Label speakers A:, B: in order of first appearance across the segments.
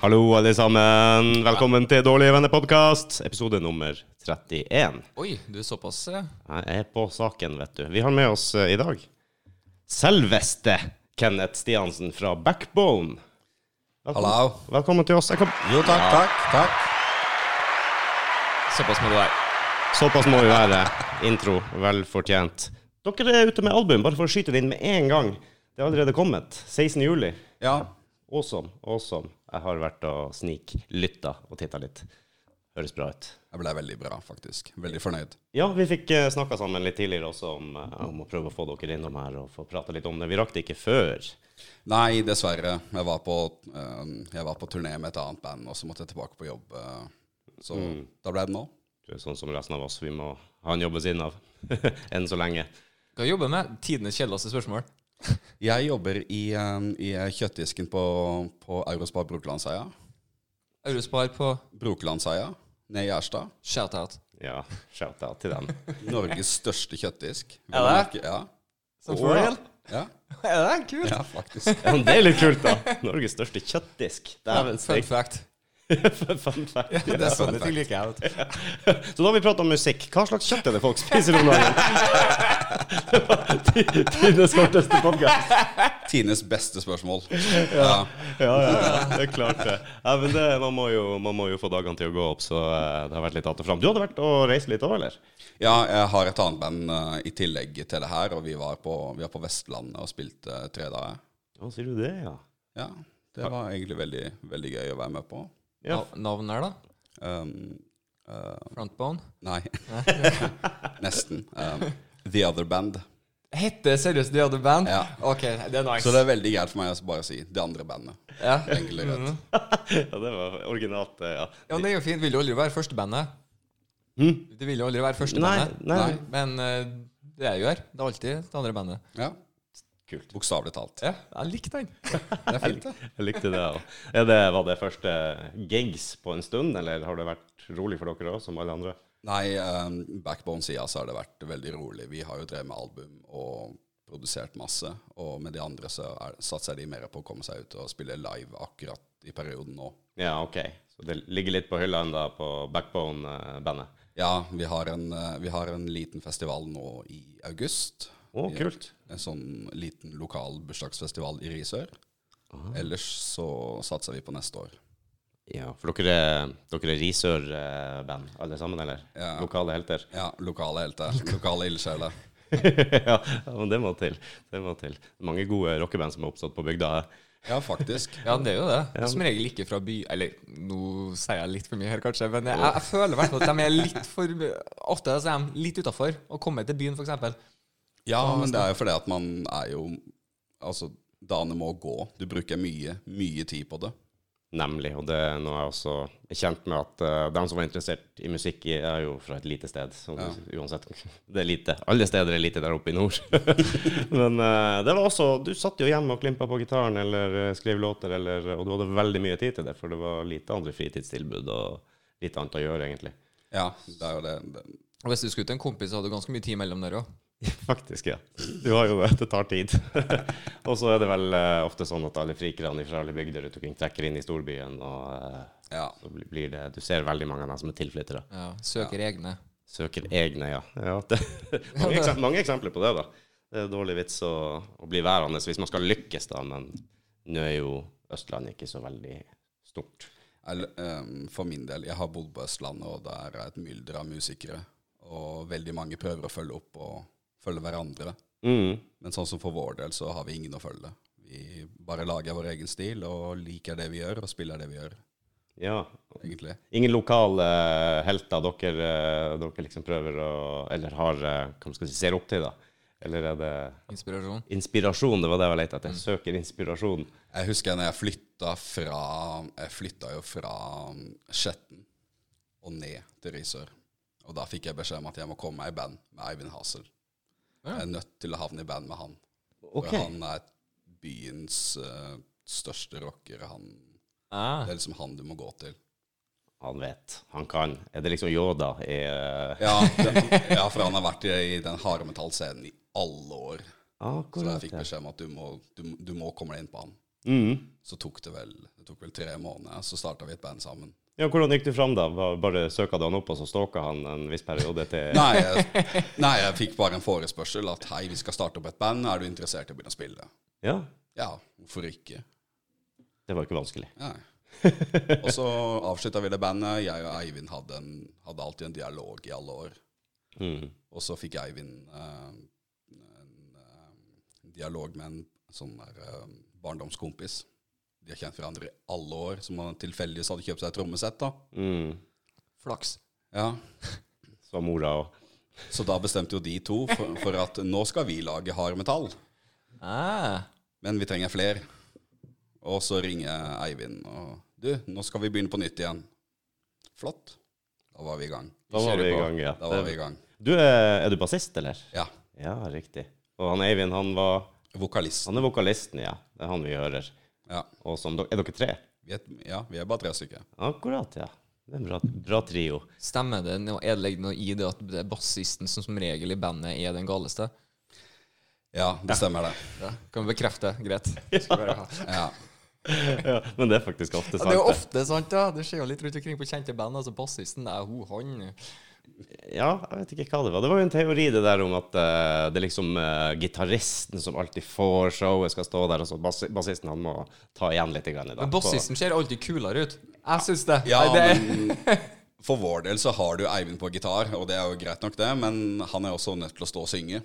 A: Hallo, alle sammen. Velkommen til Dårlige venner-podkast, episode nummer 31.
B: Oi, du er såpass ja.
A: Jeg er på saken, vet du. Vi har med oss eh, i dag selveste Kenneth Stiansen fra Backbone. Velkommen.
C: Hallo.
A: Velkommen til oss. Jeg kan...
C: Jo, takk, takk, takk.
B: Såpass må det være.
A: Såpass må vi være. Intro, vel fortjent. Dere er ute med album, bare for å skyte det inn med en gang. Det er allerede kommet. 16. juli.
C: Ja.
A: Awesome, awesome. Jeg har vært og sniklytta og titta litt. Høres bra ut.
C: Jeg ble veldig bra, faktisk. Veldig fornøyd.
A: Ja, vi fikk uh, snakka sammen litt tidligere også om, eh, om å prøve å få dere innom her og få prata litt om det. Vi rakk det ikke før.
C: Nei, dessverre. Jeg var på, eh, jeg var på turné med et annet band, og så måtte jeg tilbake på jobb. eh, så da ble det nå.
A: Du er Sånn som resten av oss. Vi må ha en jobb ved siden av. Enn så lenge.
B: Hva jobber du med? Tidenes kjedeligste spørsmål.
C: Jeg jobber i, eh, i kjøttdisken på, på Eurospar Brokelandsheia.
B: Eurospar på
C: Brokelandsheia nede i Gjerstad.
B: shout-out.
A: Ja, shout-out til dem.
C: Norges største kjøttdisk.
B: Er det?
C: Ja.
B: Som
A: for real?
C: Ja.
B: Er det kult?
C: ja, faktisk.
A: Ja, men det er litt kult, da. Norges største kjøttdisk. Dæven
B: Fun
A: steik.
B: fact.
A: Fun fact.
B: Det er sånne ting liker jeg. vet du.
A: Så da har vi prata om musikk. Hva slags kjøtt er det folk spiser om dagen? Tidenes korteste podkast.
C: Tines beste spørsmål. Ja.
A: Ja, ja, ja, det er klart det. Ja, men det, man, må jo, man må jo få dagene til å gå opp, så eh, det har vært litt att og fram. Du hadde vært og reist litt òg, eller?
C: Ja, jeg har et annet band eh, i tillegg til det her, og vi var på, vi var på Vestlandet og spilte eh, tre dager.
A: Ja, sier du det, ja.
C: Ja, det var egentlig veldig, veldig gøy å være med på.
A: Ja.
B: Nav- Navn her, da?
C: Um, eh,
B: Frontbone?
C: nei, nesten. Um, The Other Band.
B: Hette seriøst The Other Band?
C: Ja.
B: Ok, det er nice.
C: Så det er veldig greit for meg å bare si Det andre bandet.
B: ja. Mm.
C: Enkelt og
B: Mm-hmm.
C: greit.
A: ja, det var originalt, eh, ja.
B: ja, men det er jo fint. Vil jo aldri være førstebandet.
A: Hm?
B: Du vil jo aldri være
A: Nei,
B: førstebandet.
A: nei.
C: Nei.
B: Men eh, det er jo her. Det er alltid det andre bandet.
C: Ja,
A: Kult.
C: Bokstavelig talt.
B: Ja, jeg likte den.
C: Det er fint, det.
A: Jeg likte det òg. Var det første gigs på en stund, eller har det vært rolig for dere òg, som alle andre?
C: Nei, um, Backbone-sida så har det vært veldig rolig. Vi har jo drevet med album og produsert masse, og med de andre så er, satser de mer på å komme seg ut og spille live akkurat i perioden nå.
A: Ja, OK. Så det ligger litt på hylla ennå på Backbone-bandet.
C: Ja, vi har, en, eh, vi har en liten festival nå i august.
A: Å, kult.
C: En sånn liten lokal bursdagsfestival i Risør. Ellers så satser vi på neste år.
A: Ja, for dere er, dere er Risør-band, alle sammen, eller?
C: Ja.
A: Lokale helter?
C: Ja, lokale helter. Lokale ildsjeler.
A: ja, men det må til. Det må til. Mange gode rockeband som er oppstått på bygda. eh.
C: Ja, faktisk.
B: Ja, det er jo det. Som regel ikke fra by Eller nå sier jeg litt for mye her, kanskje, men jeg, jeg føler i hvert fall at de er litt for Ofte så er de litt utafor. Å komme til byen, f.eks.
C: Ja, men det er jo fordi at man er jo Altså, dagene må gå. Du bruker mye, mye tid på det.
A: Nemlig. Og det er noe jeg også er kjent med, at eh, de som var interessert i musikk, i- er jo fra et lite sted. Så uansett, det er lite. Alle steder er lite der oppe i nord. Men eh, det var også Du satt jo hjemme og klimpa på gitaren eller eh, skrev låter, eller, og du hadde veldig mye tid til det, for det var lite andre fritidstilbud og lite annet å gjøre, egentlig.
C: Ja, det er jo det. det.
B: Og hvis du skulle til en kompis, så hadde du ganske mye tid mellom der òg.
A: Faktisk, ja. Du har jo det. Det tar tid. og så er det vel eh, ofte sånn at alle frikerne fra alle bygder rundt omkring trekker inn i storbyen, og eh,
C: Ja.
A: så bli- blir det Du ser veldig mange av dem som er tilflyttere.
B: Ja, søker egne.
A: Søker egne, ja. ja det, mange, eksempler, mange eksempler på det, da. Det er dårlig vits å, å bli værende hvis man skal lykkes, da, men nå er jo Østlandet ikke så veldig stort.
C: Jeg, ehm, for min del, jeg har bodd på Østlandet, og det er et mylder av musikere. Og veldig mange prøver å følge opp og følge hverandre.
A: Mm.
C: Men sånn som for vår del så har vi ingen å følge. Vi bare lager vår egen stil og liker det vi gjør, og spiller det vi gjør,
A: Ja.
C: egentlig.
A: Ingen lokale helter dere, eh, dere liksom prøver å Eller har eh, Hva skal man si, ser opp til, da? Eller er det
B: Inspirasjon.
A: Inspirasjon, det var det jeg var lett etter. Søker inspirasjon.
C: Jeg husker når jeg flytta fra Jeg flytta jo fra um, Skjetten og ned til Risør. Og da fikk jeg beskjed om at jeg må komme meg i band med Eivind Hassel. Jeg er nødt til å havne i band med han.
A: Ok.
C: For han er byens eh, største rocker. Han,
B: Ah,
C: det er liksom han du må gå til.
A: Han vet. Han kan. Er det liksom Yoda i eh,
C: Ja, den, ja for han har vært i, i den harde metallscenen i alle år. Så jeg
A: Akkurat.
C: fikk
A: ja.
C: beskjed om at du må, du, du må komme deg inn på han.
A: Mm.
C: Så tok det vel det tok vel tre måneder, så starta vi et band sammen.
A: Ja, hvordan gikk du fram da? Var- Bare søka du han opp, og så stalka han en viss periode til
C: Nei jeg, nei, jeg fikk bare en forespørsel at hei, vi skal starte opp et band, er du interessert i å begynne å spille?
A: Ja,
C: Ja, hvorfor ikke?
A: det var ikke vanskelig.
C: Nei. Og så avslutta vi det bandet. Jeg og Eivind hadde, en, hadde alltid en dialog i alle år.
A: Mm.
C: Og så fikk Eivind eh, en eh, dialog med en sånn der eh, barndomskompis. De har kjent hverandre i alle år, som han tilfeldigvis hadde kjøpt seg et trommesett. da.
A: Mm.
B: Flaks.
C: Ja.
A: Så mora og
C: Så da bestemte jo de to for, for at nå skal vi lage hard metall,
B: Ah,
C: men vi trenger flere. Og så ringer Eivind og Du, nå skal vi begynne på nytt igjen. Flott. Da var vi i gang.
A: Da var
B: Kjører
A: vi i
B: på.
A: gang, ja.
C: Da var vi i gang.
A: Du, er, er du bassist, eller?
C: Ja.
A: Ja, riktig. Og han Eivind, han var
C: Vokalist.
A: Han er vokalisten, ja. Det er han vi hører.
C: Ja.
A: Og som, er dere tre?
C: Vi er, ja, vi er bare tre stykker.
A: Akkurat, ja. Det er en bra, bra trio.
B: stemmer det noe er det ligger noe i det at det er bassisten som som regel i bandet er den galeste?
C: Ja, det stemmer, det.
B: Ja. Kan vi bekrefte? Greit. Skal bare ha.
C: Ja.
A: Ja, men det er faktisk ofte
B: Ja,
A: sant.
B: det er jo ofte sant, da. Det skjer jo litt rundt omkring på kjente band. Altså bassisten er ho, han.
A: Ja, jeg vet ikke hva det var. Det var jo en teori det der om at eh, det er liksom eh, gitaristen som alltid får showet, skal stå der, og så bassi- bassisten han må ta igjen litt. Grann, da.
B: Men bassisten ser alltid kulere ut. Jeg syns det.
C: Ja,
B: det
C: men for vår del så har du Eivind på gitar, og det er jo greit nok det, men han er også nødt til å stå og synge.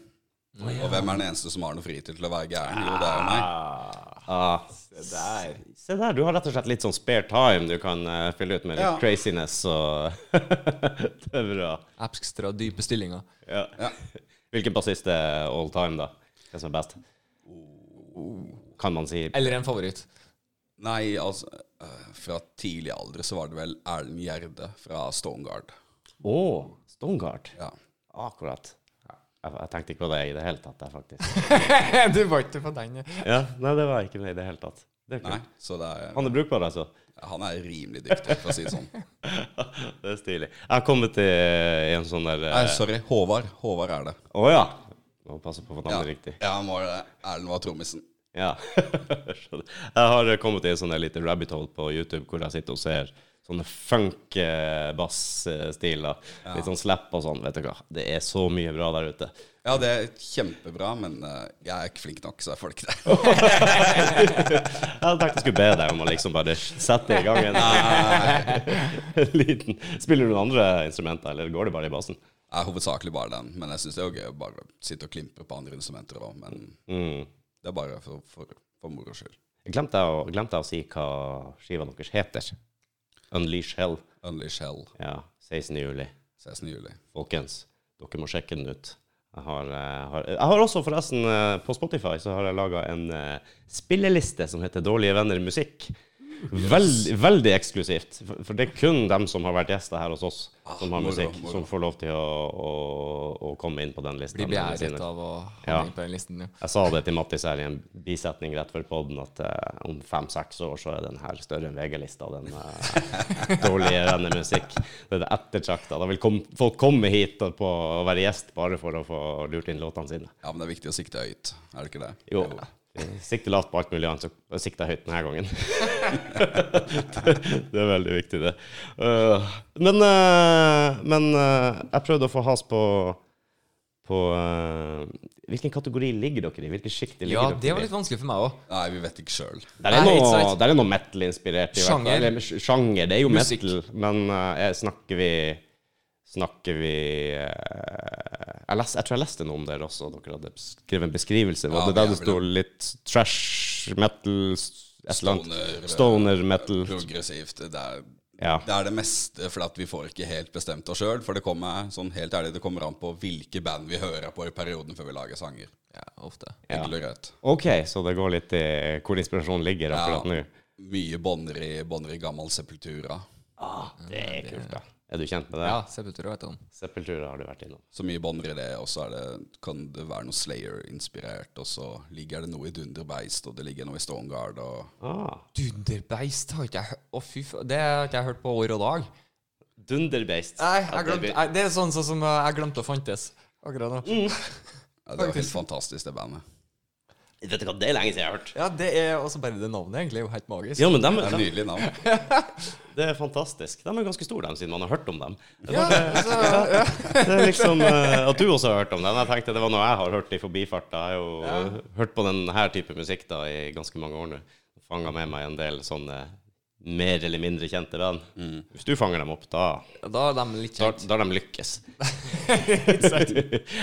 C: Og hvem er den eneste som har noe fritid til å være gæren? Jo, det er jo meg.
A: På, ah, se der, du har rett og slett litt sånn spare time du kan eh, fylle ut med litt
C: Ja.
A: craziness og Det er bra.
B: Ekstra dype stillinger.
A: Ja. Hvilken bassist er all time, da? Hvem som er best? Kan man si
B: Eller en favoritt.
C: Nei, altså øh, Fra tidlig alder så var det vel Erlend Gjerde fra Stoneguard.
A: Å, Stongard.
C: Ja.
A: Akkurat. Jeg, jeg tenkte ikke på det i det hele tatt, der, faktisk.
B: du var ikke på den.
A: Ja, Nei, det var ikke det i det hele tatt. Det er
C: Nei,
A: kult.
C: så det er,
A: Han er brukbar, altså.
C: han er rimelig dyktig, for å si det sånn.
A: Det er stilig. Jeg har kommet i i en sånn der
C: Nei,
A: eh,
C: sorry. Håvard. Håvard er det.
A: Å ja! Må passe på å få navnet riktig.
C: Ja, han var det. Erlend var trommisen.
A: Ja. Skjønner. jeg har kommet i en sånn der liten rabbit hole på YouTube hvor jeg sitter og ser sånne funk eh, bassstiler. Litt sånn slap og sånn. Vet du hva. Det er så mye bra der ute.
C: Ja, det er kjempebra, men øh, jeg er ikke flink nok, så jeg får det ikke det.
A: Jeg hadde tenkt jeg skulle be deg om å liksom bare sette i gang en liten Spiller du noen andre instrumenter, eller går det bare i bassen?
C: Det er hovedsakelig bare den, men jeg syns det er jo gøy å bare sitte og klimpre på andre instrumenter òg. Men
A: Mm.
C: det er bare for, for, for moro skyld.
A: Jeg Glemte jeg, å, glemte jeg å si hva skiva deres heter? Unleash Hell.
C: Unleash Hell,
A: Ja, 16. juli.
C: 16. juli.
A: Folkens, dere må sjekke den ut. Jeg har, eh, har, jeg har også forresten eh, på Spotify så har jeg laga en eh, spilleliste som heter Dårlige venner musikk. Veldig, veldig eksklusivt. For, for det er kun dem som har vært gjester her hos oss, som har
C: moro,
A: musikk,
C: moro.
A: som får lov til å, å, å komme inn på den lista.
B: Blir
A: med sine-
B: beæret av å ha
A: Ja.
B: meg på den listen. Ja.
A: jeg sa det til Mattis her i en bisetning rett før podden, at eh, om fem-seks år så er den her større enn VG-lista, den eh, dårlige vennemusikk. Det er det ettertrakta. Da vil kom, folk komme hit og, på, og være gjest bare for å få lurt inn låtene sine.
C: Ja, men det er viktig å sikte høyt, er det ikke det?
A: Jo. Sikte lavt på alt mulig annet, så sikta jeg høyt denne gangen. det, det er veldig viktig, det. Øh, men øh, men øh, jeg prøvde å få has på, på øh, Hvilken kategori ligger dere i? Hvilket sjikt ligger
B: ja,
A: dere
B: det var
A: i?
B: litt vanskelig for meg òg.
C: Nei, vi vet ikke sjøl.
A: Der er,
B: Nei, ikke
A: noe,
B: sant?
A: der er noe metal-inspirert. i hvert fall.
B: Sjanger.
A: Eller sj- Sjanger. Det er jo
B: Musikk.
A: metal, men eh, jeg- snakker vi Snakker vi eh, jeg, les, jeg tror jeg leste noe om dere også. Dere hadde skrevet en beskrivelse. Var
C: Ja,
A: det der
C: vi
A: det
C: har
A: sto litt trash metal s- et eller annet?
B: eh,
C: Stoner,
A: Stoner metal.
C: Progressivt. Det er,
A: Ja.
C: det er det meste, for at vi får ikke helt bestemt oss sjøl. For det kommer, sånn helt ærlig, det kommer an på hvilke band vi hører på i perioden før vi lager sanger.
B: Ja, ofte.
A: Ja.
C: Enkelt og greit.
A: OK, så det går litt i hvor inspirasjonen ligger akkurat nå.
C: Mye bånder i, bånder i gammel sepultura.
A: Ah, Det er kult, da. Er du kjent med det?
B: Ja, Sepultura vet jeg om.
A: Sepultura har du vært innom.
C: Så mye bånder i det, og så er det, kan det være noe Slayer-inspirert, og så ligger det noe i Dunderbeist, og det ligger noe i Stoneguard, og
A: Ah,
B: Dunderbeist har ikke jeg hørt Å, fy faen. Det har ikke jeg hørt på år og dag.
A: Dunderbeist.
B: Nei,
A: Ja, det
B: jeg glemte,
A: blir-
B: jeg, det er sånn sånn som eh, jeg glemte å fantes akkurat nå.
C: ja, Det er jo helt fantastisk, det bandet.
A: Vet du hva, det er lenge siden jeg har hørt.
B: Ja, det er også bare det navnet, egentlig. er jo helt magisk.
A: Ja, men dem,
C: Det er
A: dem,
C: Nydelig navn.
A: det er fantastisk. De er ganske store, dem, siden man har hørt om dem.
B: Ja, så, ja.
A: Det er liksom eh, At du også har hørt om den. Jeg tenkte det var noe jeg har hørt i forbifarta. Jeg har jo
B: Ja.
A: hørt på denne type musikk da i ganske mange år nå. Fanga med meg en del sånne mer eller mindre kjente band.
B: Mm.
A: Hvis du fanger dem opp, da
B: Da er de litt
A: Da
B: kjent.
A: da har de lykkes.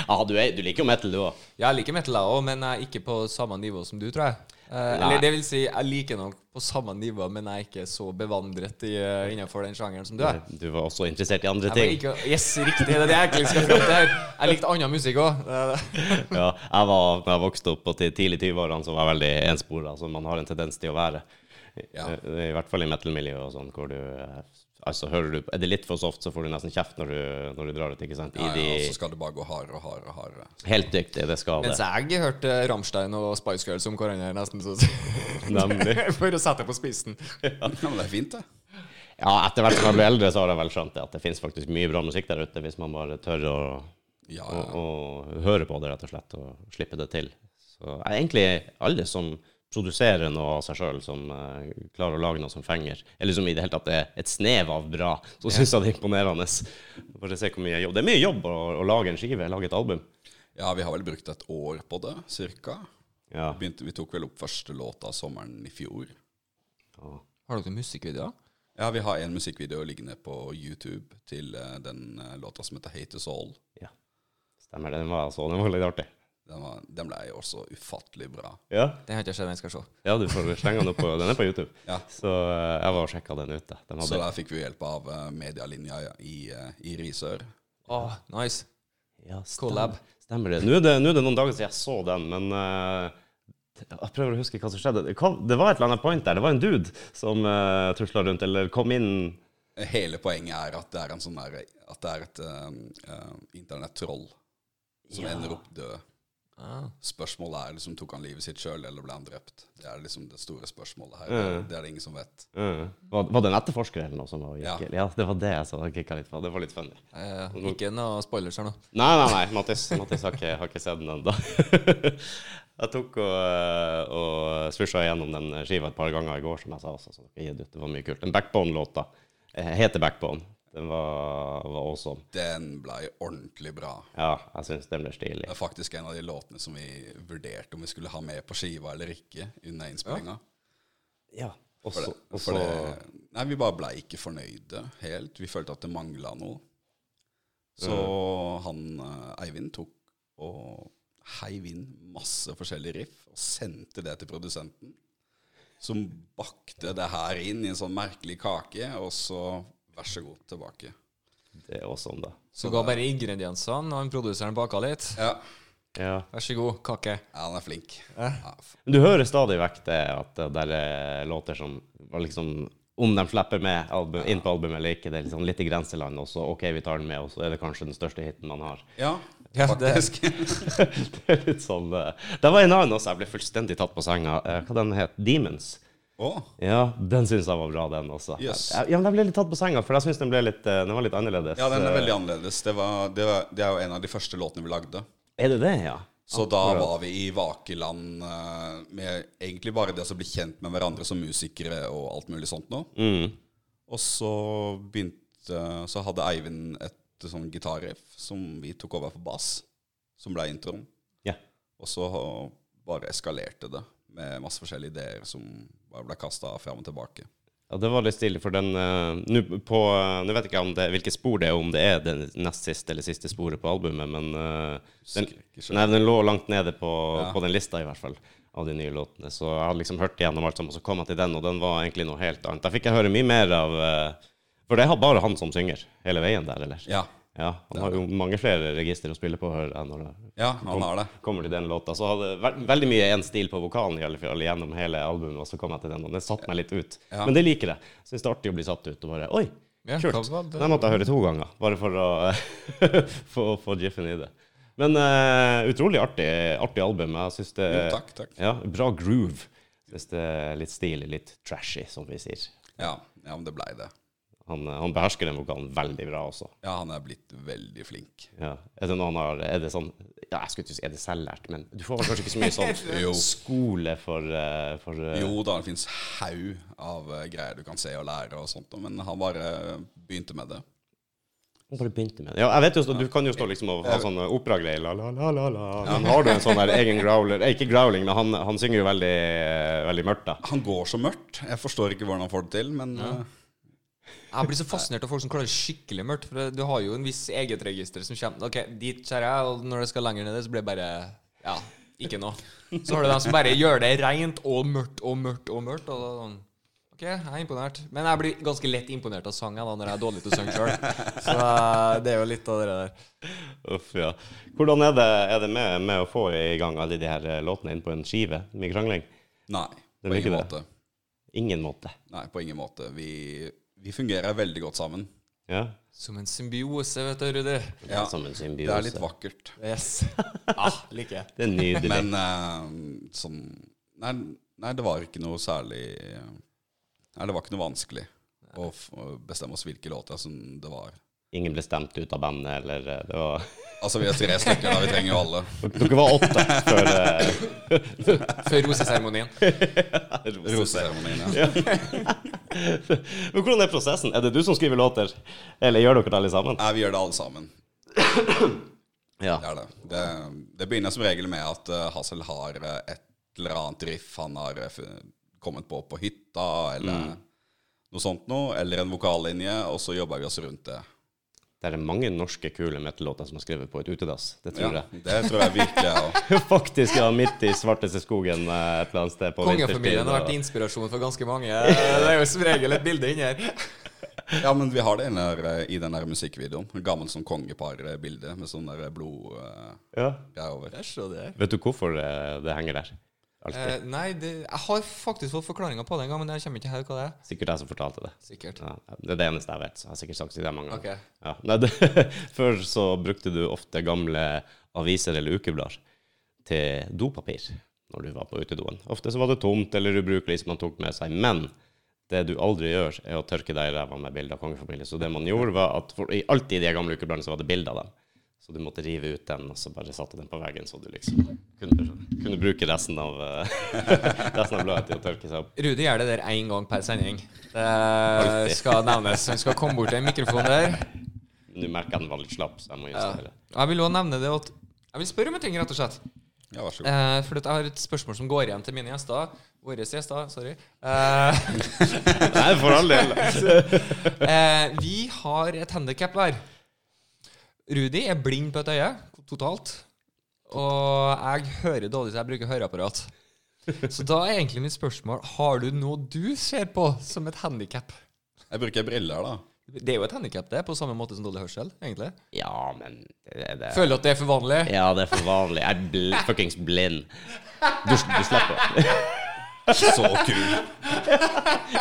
A: ja, du, er, du liker jo metal, du òg.
B: Jeg liker metal, jeg òg, men jeg er ikke på samme nivå som du, tror jeg. Eh,
A: Nei.
B: eller det vil si, jeg liker nok på samme nivå, men jeg er ikke så bevandret i, eh, innenfor den sjangeren som du er.
A: Du var også interessert i andre
B: Jeg var
A: ting.
B: ikke, yes, riktig. Det er det jeg egentlig skal fram til her. Jeg likte annen musikk òg.
A: Ja, jeg var, da jeg vokste opp på ti- tidlig 20-årene, så var jeg veldig enspora, som man har en tendens til å være. I,
C: Ja.
A: I hvert fall i metal-miljøet og sånn, hvor du eh, Altså, hører du Er det litt for soft, så får du nesten kjeft når du, når du drar ut, ikke sant?
C: Ja,
A: I
C: ja, og så
A: de
C: skal det bare gå hardere og hardere. og hardere.
A: Helt riktig, det skal det.
B: Mens jeg hørte eh, Rammstein og Spice Girls om hverandre, nesten. Så.
A: Nemlig.
B: For å sette det på spissen.
C: Ja, men det er fint, det.
A: Ja, etter hvert som jeg ble eldre, så har jeg vel skjønt det, at det finnes faktisk mye bra musikk der ute, hvis man bare tør å,
C: Ja,
A: å,
C: ja.
A: å høre på det, rett og slett, og slippe det til. Så jeg er egentlig alle som produserer noe av seg sjøl, som eh, klarer å lage noe som fenger, eller som i det hele tatt er et snev av bra, så syns jeg det er imponerende. Bare se hvor mye jobb. Det er mye jobb å, å lage en skive, lage et album.
C: ja, vi har vel brukt et år på det, cirka.
A: Ja.
C: Begynte, vi tok vel opp første låta sommeren i fjor.
B: Har dere musikkvideoer?
C: Ja, vi har en musikkvideo liggende på YouTube til eh, den eh, låta som heter Hate Us All.
A: ja. Stemmer det. Den var, jeg så, den var litt artig.
C: Den, var, den ble jo også ufattelig bra.
A: Ja.
B: Den har ikke jeg sett, den skal jeg se.
A: ja, du får slenge den opp på Den er på YouTube.
C: Ja.
A: Så eh, jeg var og sjekka den ute. Den
C: Så
A: hadde
C: der fikk vi hjelp av eh, medialinja i, eh, i Risør.
B: Åh, nice.
A: Ja,
B: Collab.
A: Stemmer det. Nå er det, nå er det noen dager siden jeg så den, men eh, jeg prøver å huske hva som skjedde. Det, kom, det var et eller annet point der. Det var en dude som uh, tusla rundt, eller kom inn
C: Hele poenget er at det er, en sånn der, at det er et eh, eh, internettroll som
A: Ja.
C: ender opp død.
B: Ah.
C: Spørsmålet er liksom, tok han livet sitt sjøl, eller ble han drept? Det er liksom det store spørsmålet her.
A: Mm.
C: Det er det ingen som vet.
A: eh, var, var det en etterforsker eller noe som var
C: Ja.
A: gikk? Ja, det var det jeg så jeg kikka litt på. Det var litt funny.
B: Eh, ikke noe spoilers her nå.
A: Nei, nei, nei. Mattis, Mattis har, ikke, har ikke sett den ennå. jeg tok og, eh, og svisja gjennom den skiva et par ganger i går, som jeg sa også. Så dere gir det ut. Det var mye kult. Den Backbone-låta eh, heter Backbone. Den var, var awesome.
C: Den blei ordentlig bra.
A: Ja, jeg syns den ble stilig.
C: Det er faktisk en av de låtene som vi vurderte om vi skulle ha med på skiva eller ikke under innspillinga.
A: Ja. Og
C: For
A: så,
C: det-
A: og
C: for
A: så-
C: det- Nei, vi bare blei ikke fornøyde helt. Vi følte at det mangla noe. Så han eh, Eivind tok og heiv inn masse forskjellige riff og sendte det til produsenten, som bakte det her inn i en sånn merkelig kake, og så vær så god tilbake.
A: det er også sånn, da.
B: Så ga bare ingrediensene, og han produseren baka litt.
C: Ja,
A: Ja.
B: Vær så god, kake.
C: ja han er flink. Ja, f-
A: Men du hører stadig vekk det at det der er låter som var liksom Om de slipper med album, inn på albumet eller ikke, det er liksom litt i grenseland, og så OK, vi tar den med, og så er det kanskje den største hiten man har.
C: ja
B: Ja, det,
C: faktisk.
A: det er litt sånn eh, Det var en annen også, jeg ble fullstendig tatt på senga. Eh, Hva den het Demons.
C: Å,
A: Ja, den syns jeg var bra, den også.
C: Yes.
A: Ja, men jeg ble litt tatt på senga, for jeg syns den ble litt eh, Den var litt annerledes.
C: Ja, den er veldig annerledes. Det, var, det, var, det er jo en av de første låtene vi lagde.
A: Eh, Er det det, ja?
C: Så da var vi i vakeland eh, med egentlig bare det å bli kjent med hverandre som musikere og alt mulig sånt nå.
A: Mm.
C: Og så begynte Så hadde Eivind et sånn gitarriff som vi tok over for bass, som ble introen.
A: Ja.
C: Og så bare eskalerte det med masse forskjellige ideer som bare ble kasta fram og tilbake.
A: Ja, det var litt stilig, for den eh, Nå på, eh, nå vet jeg ikke om det, hvilket spor det er, om det er det nest siste eller siste sporet på albumet, men eh, den,
C: ikke selv.
A: nei, den lå langt nede på,
C: Ja.
A: på den lista, i hvert fall, av de nye låtene. Så jeg hadde liksom hørt igjennom alt sammen, og så kom jeg til den, og den var egentlig noe helt annet. Der fikk jeg høre mye mer av eh, For det er bare han som synger hele veien der, eller?
C: Ja,
A: Ja, han har jo mange flere register å spille på, hører jeg, når det
C: ja han har det.
A: kommer til den låta. Så hadde ve veldig mye én stil på vokalen i alle fall gjennom hele albumet, og så kom jeg til den, og den satte meg litt ut.
C: Ja.
A: Men det liker jeg. Syns det er artig å bli satt ut, og bare Oi,
B: Ja,
A: kult.
B: hva var det?
A: Den måtte jeg høre to ganger, bare for å få, få jiffen i det. Men eh, utrolig artig, artig album. Jeg syns det
C: Jo, takk, takk.
A: Ja, bra groove. Syns det er litt stilig, litt trashy, som vi sier.
C: Ja, ja men det blei det.
A: Han, eh, han behersker den vokalen veldig bra også.
C: Ja, han er blitt veldig flink.
A: Ja. Er det noen har Er det sånn ja, Jeg skulle ikke si er det selvlært, men du får vel kanskje ikke så mye
C: Jo.
A: sånn skole for, eh, for eh,
C: Jo da, det fins haug av eh, greier du kan se og lære og sånt, men han bare eh, begynte med det.
A: Han bare begynte med det. Ja, jeg vet jo, så- Du kan jo stå liksom og ha sånn operagreier. La, la, la, la, la. Men har du en sånn der egen growler eh, Ikke growling, men han, han synger jo veldig, eh, veldig mørkt, da.
C: Han går så mørkt. Jeg forstår ikke hvordan han får det til, men eh,
B: Jeg blir så fascinert av folk som klarer skikkelig mørkt. For du har jo en viss egetregister som kommer Ok, dit ser jeg, og når det skal lenger ned, så blir det bare Ja, ikke noe. Så har du dem som bare gjør det rent og mørkt og mørkt og mørkt. Og da, sånn, ok, jeg er imponert. Men jeg blir ganske lett imponert av sang jeg, da, når jeg er dårlig til å synge sjøl. Så eh, det er jo litt av det der.
A: Uff, ja. Hvordan er det, er det med, med å få i gang alle de her eh, låtene inn på en skive? Mye krangling?
C: nei.
A: Det
C: På
A: blir
C: ingen
A: ikke
C: måte.
A: Ingen måte.
C: Nei, på ingen måte. Vi, vi fungerer veldig godt sammen.
A: Ja.
B: Som en symbiose, vet du, Rudi.
A: Det
C: Ja,
A: er sånn som en symbiose.
C: Det er litt vakkert.
B: Yes. Ah, liker jeg.
A: Det er nydelig.
C: Men eh, sånn nei, nei, det var ikke noe særlig eh, Nei, det var ikke noe vanskelig å f bestemme oss hvilke låter som det var.
A: Ingen ble stemt ut av bandet, eller eh, det var
C: Altså, vi er tre stykker, da. Vi trenger jo alle.
A: Dere var åtte før eh,
B: Før roseseremonien.
C: Roseseremonien, ja.
A: Men hvordan er prosessen? Er det du som skriver låter, eller gjør dere det alle sammen?
C: Nei, vi gjør det alle sammen.
A: Ja.
C: Det, er det. Det, det begynner som regel med at eh, Hassel har eh, et eller annet riff han har eh, fu- kommet på på hytta, eller noe sånt noe, eller en vokallinje, og så jobber vi oss rundt det.
A: Det er mange norske kule metal-låter som er skrevet på et utedass. Det tror
C: Ja,
A: jeg.
C: det tror jeg virkelig er også.
A: Faktisk, ja. Midt i svarteste skogen eh, et eller annet sted på
B: Kongefamilien har
A: og-
B: vært inspirasjon for ganske mange. Det er jo som regel et bilde inni her.
C: Ja, men vi har det inne her, eh, i den der musikkvideoen. Gammel som kongepar-bilde med sånn der blod eh,
A: ja.
C: greier over.
B: Der så det.
A: Vet du hvorfor eh, det henger der? Alltid.
B: Eh, nei, det, jeg har faktisk fått forklaringa på det en gang, men jeg kommer ikke her hva det er.
A: Sikkert jeg som fortalte det.
B: Sikkert.
A: Ja, det er det eneste jeg vet. så Jeg har sikkert sagt det mange ganger.
B: Ok.
A: Ja. Nei, det, før så brukte du ofte gamle aviser eller ukeblader til dopapir når du var på utedoen. Ofte så var det tomt eller ubrukelig som man tok med seg. Men det du aldri gjør, er å tørke deg i ræva med bilder av kongefamilien. Så det man gjorde, var at for, i alltid i de gamle ukebladene så var det bilder av dem. Så du måtte rive ut den, og så bare satte den på veggen, så du liksom kunne, kunne bruke resten av, eh, resten av bladet til å tørke seg opp.
B: Rudi gjør det der én gang per sending. Det skal nevnes. Han skal komme bort til en mikrofon der.
A: Nå merker jeg den var litt slapp, så jeg må justere.
B: Og jeg vil også nevne det at Jeg vil spørre om en ting, rett og slett.
C: Ja, vær så god.
B: Eh, for at jeg har et spørsmål som går igjen til mine gjester. Våre gjester, sorry. Eh,
A: Nei, for all del.
B: eh, vi har et handikap hver. Rudi er blind på et øye, totalt. Og jeg hører dårlig, så jeg bruker høreapparat. Så da er egentlig mitt spørsmål Har du noe du ser på som et handikap?
C: Jeg bruker briller, da.
B: Det er jo et handikap, det, på samme måte som dårlig hørsel, egentlig.
A: Ja, men det, er det.
B: Føler du at det er for vanlig?
A: Ja, det er for vanlig. Jeg er bl fuckings blind. Du, du slipper.
C: Så kul.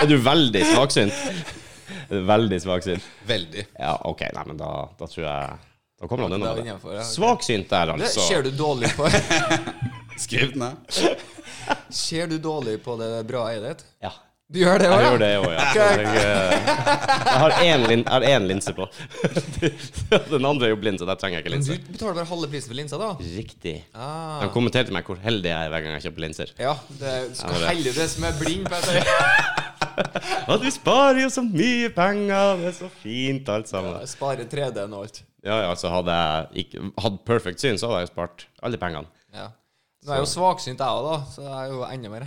A: Er du veldig svaksynt? Er du Veldig svaksynt.
C: Veldig.
A: Ja, OK, nei, men da, da tror jeg Da kommer han
B: Da er vi
A: unna.
B: innenfor, ja, ok.
A: Svaksynt der,
B: Det
A: altså.
B: ser du dårlig på
C: Skriv den ned.
B: Ser du dårlig på det bra øyet ditt?
A: Ja.
B: Du gjør det
A: Jeg
B: òg,
A: gjør det òg, ja. Så Jeg, eh, jeg har én lin jeg har én linse på. Den andre er jo blind, så der trenger jeg ikke
B: Men du
A: linse.
B: betaler bare halve prisen for linsa, da?
A: Riktig.
B: Ah.
A: Han kommenterte meg hvor heldig jeg er hver gang jeg kjøper linser.
B: Ja, det er så
A: det-
B: heldig du er som er blind på et øye.
A: At vi sparer jo så mye penger, det er så fint alt sammen.
B: Ja, Spare 3D-en og alt.
A: Ja, ja, altså hadde jeg ikke, hadde perfect syn, så hadde jeg jo spart alle pengene.
B: Ja. Nå er jeg jo svaksynt, jeg òg, da, så jeg er jo enda mer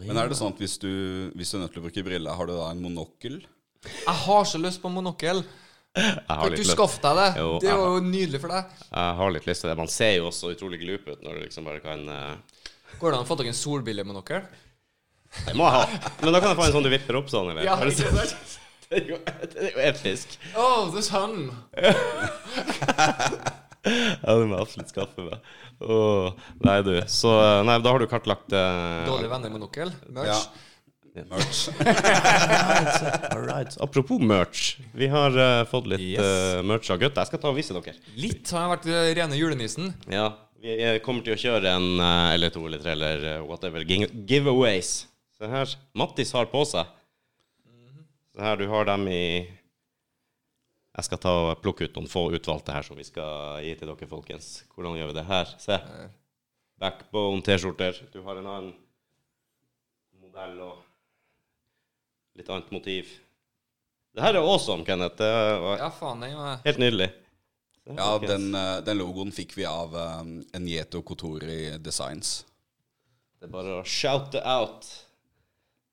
C: Men er det sånn at hvis du, hvis du er nødt til å bruke briller, har du da en monokkel?
B: Jeg har så lyst på monokkel.
A: Jeg har,
B: Kan ikke
A: litt
B: du
A: lyst,
B: skaffe deg det?
A: Jo,
B: det
A: jeg
B: var
A: har-
B: jo nydelig for deg.
A: jeg har litt lyst til det. Man ser jo også utrolig glup ut når du liksom bare kan eh,
B: Går det an å få tak i en solbrillemonokkel?
A: Det må jeg ha. Men da kan jeg få en sånn du vipper opp sånn, eller?
B: Ja,
A: Har du
B: ikke
A: sett?
B: sant?
A: det, er jo, det er jo episk.
B: Oh, the sun!
A: Ja, det må jeg absolutt skaffe meg. Åh, nei, du. Så eh, nei, da har du kartlagt eh,
B: Dårlige venner-monokkel. Merch.
C: Ja. Merch.
A: all right. Apropos merch. Vi har eh, fått litt
B: Yes.
A: eh, merch av gutta. Jeg skal ta og vise dere.
B: Litt har jeg vært eh, rene julenissen.
A: Ja, vi eh, kommer til å kjøre en eh, eller to eller tre eller eh, whatever gi- giveaways. Se her. Mattis har på seg. Se Det her, du har dem i Jeg skal ta og plukke ut noen få utvalgte her som vi skal gi til dere, folkens. Hvordan gjør vi det her? Se.
B: Eh,
A: Backbone T-skjorter. Du har en annen modell og litt annet motiv. Det her er awesome, Kenneth. Det var
B: Ja, faen, den var
A: helt nydelig. Se,
C: Ja,
A: folkens.
C: den, eh, den logoen fikk vi av um, Nieto Kotori Designs.
A: Det er bare å shout it out.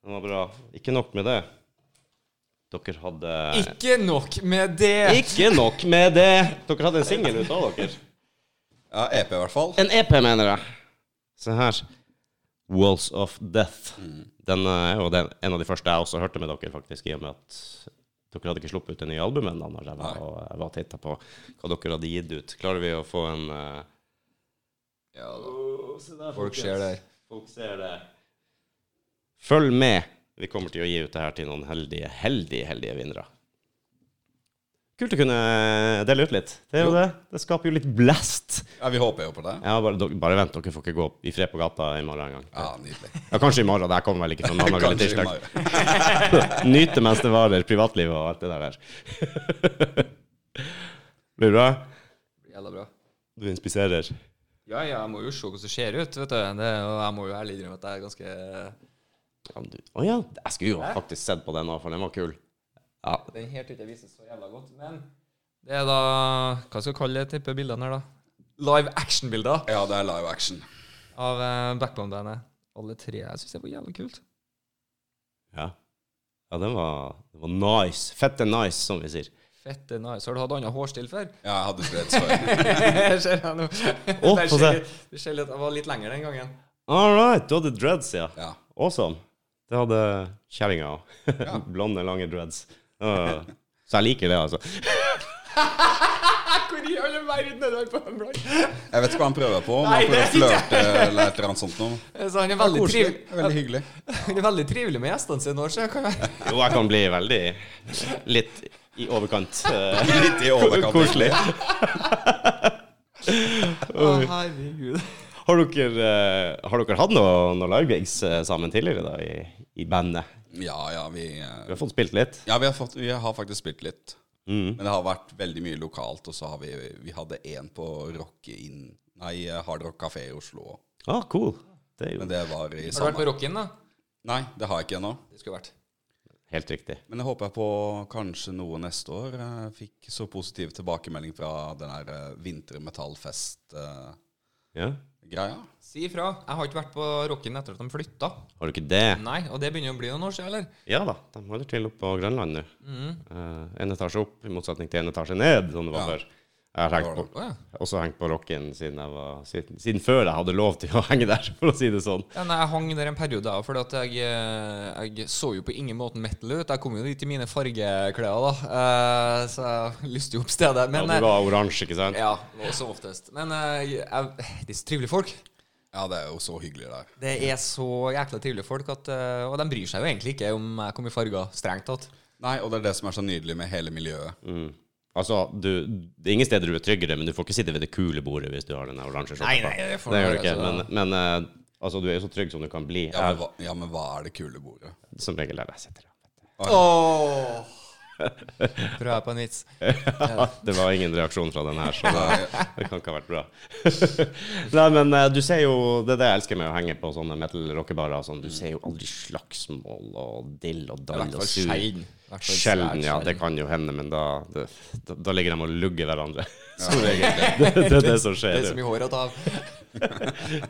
A: Den var bra. Ikke nok med det. Dere hadde
B: Ikke nok med det!
A: Ikke nok med det! Dere hadde en singel ut av dere.
C: Ja, EP i hvert fall.
A: En EP, mener jeg. Se her. Walls of Death. Den eh, er jo den, en av de første jeg også hørte med dere, faktisk, i og med at dere hadde ikke sluppet ut det nye albumet ennå, når jeg var,
C: Nei.
A: og jeg var titta på hva dere hadde gitt ut. Klarer vi å få en eh,
B: Ja, da.
A: Åh, se der,
B: Folk
A: folkens.
B: ser det her.
A: Folk ser det. Følg med. Vi kommer til å gi ut det her til noen heldige, heldige, heldige vinnere. Kult å kunne dele ut litt. Det er jo det. Det skaper jo litt blast.
C: Ja, Vi håper jo på det.
A: Ja, bare, dere- bare vent, dere får ikke gå i fred på gata i morgen en gang.
C: Ja, Nydelig.
A: Ja, kanskje i morgen. Det her kommer vel ikke fra mandag eller
C: Kanskje i
A: tirsdag.
C: morgen.
A: Nyte mens det varer, privatlivet og alt det der. Blir det bra?
B: Jævla bra.
A: Du inspiserer.
B: Ja, ja, jeg må jo se hvordan det ser ut, vet du. Det, er jo- jeg må jo ærlig innrømme at jeg er ganske
A: Ja, men du- Å ja, jeg skulle jo faktisk sett på den, nå, for den var kul. Ja,
B: Den her tror jeg ikke vises så jævla godt, men det er da Hva skal jeg kalle det type bildene her, da? Live action-bilder
C: Ja, det er live action.
B: av eh, Backbone-bandet. Alle tre. Jeg syns det var jævla kult.
A: Ja. Ja, den var, den var nice. Fette nice, som vi sier.
B: Fette nice. Har du hatt annen hårstil før?
C: Ja, jeg hadde dreads før.
B: ser jeg nå.
A: Å,
B: Der
A: få
B: ser
A: se.
B: litt- Det ser litt, jeg var litt lenger den gangen.
A: All right, du hadde dreads, ja.
C: Ja.
A: Awesome. Det hadde kjerringa òg. Blonde, lange dreads. Ja. Så jeg liker det, altså.
B: Hvor i alle verden er det han på en blogg?
C: Jeg vet ikke hva han prøver på. Om han prøver å flørte eller et eller annet sånt noe.
B: Så han er veldig
C: Koselig.
B: trivelig,
C: Veldig hyggelig.
B: han er veldig trivelig med gjestene sine òg, så jeg kan være
A: Jo, jeg kan bli veldig litt i overkant. eh,
C: Litt i overkant.
A: Koselig.
B: Å, herregud.
A: Har dere, eh, har dere hatt noen noe livegigs eh, sammen tidligere da, i, i bandet?
C: Ja, ja, vi eh,
A: Du har fått spilt litt?
C: Ja, vi har, fått, vi har faktisk spilt litt.
A: Mm.
C: Men det har vært veldig mye lokalt. Og så har vi, vi hadde én på Rocke Inn Nei, Hard Rock Café i Oslo.
A: Ah, cool. Det er jo
C: Men det var i
B: Har du vært
C: samme
B: på Rockin, da?
C: Nei, det har jeg ikke ennå.
B: Det skulle vært.
A: helt riktig.
C: Men jeg håper jeg på kanskje noe neste år. Jeg fikk så positiv tilbakemelding fra den her eh, vintermetallfest-greia.
A: Ja.
B: Si ifra. Jeg har ikke vært på Rockin etter at de flytta.
A: Har du ikke det?
B: Nei, og det begynner å bli noen år siden, eller?
A: Ja da, de holder til oppe på Grønland nå. Eh, en etasje opp, i motsetning til en etasje ned, som det var
C: Mm. Ja.
A: før. Jeg har hengt
C: Det var
A: på,
B: Å ja.
A: også hengt på rocken siden, jeg var, siden, siden før jeg hadde lov til å henge der, for å si det sånn.
B: Ja, nei, jeg hang der en periode, da, fordi at jeg, eh, jeg så jo på ingen måte metal ut. Jeg kom jo dit i mine fargeklær, da, eh, så jeg lyste jo opp stedet. Men,
C: eh,
B: eh,
A: ja, du var oransje, ikke sant?
B: Ja, og som oftest. Men eh, jeg, de er så trivelige folk.
C: Ja, det er jo så hyggelig der.
B: Det er så jækla trivelige folk, at, eh, og de bryr seg jo egentlig ikke om jeg kom i farger, strengt tatt.
C: Nei, og det er det som er så nydelig med hele miljøet.
A: Mm. Altså, du, det er ingen steder du er tryggere, men du får ikke sitte ved det kule bordet hvis du har den oransje skjorta.
B: Nei,
A: på.
B: nei, det får
A: det gjør du
B: være,
A: ikke. Men,
B: altså.
A: men eh, altså, du er jo så trygg som du kan bli.
C: Ja, men
A: Jeg,
C: hva, ja, men hva er det kule bordet?
A: som regel er jeg sitter her.
B: Ååå! Prøver jeg på en vits.
A: Det var ingen reaksjon fra den her, så
C: Nei.
A: det, det kan ikke ha vært bra. Nei, men eh, du ser jo Det er det jeg elsker med å henge på sånne metal-rockebarer. og Sånn, du ser jo aldri slagsmål og dill og
B: I
A: dall og
B: hvert fall
A: sur.
B: sjelden. I hvert fall
A: Sjelden,
B: svært
A: ja. Det
B: sjelden.
A: kan jo hende, men da, det, da, da ligger de og lugger hverandre.
C: Som regel.
A: Det, det er det som
B: Det
A: skjer.
B: er så
A: jo.
B: mye hår å ta av.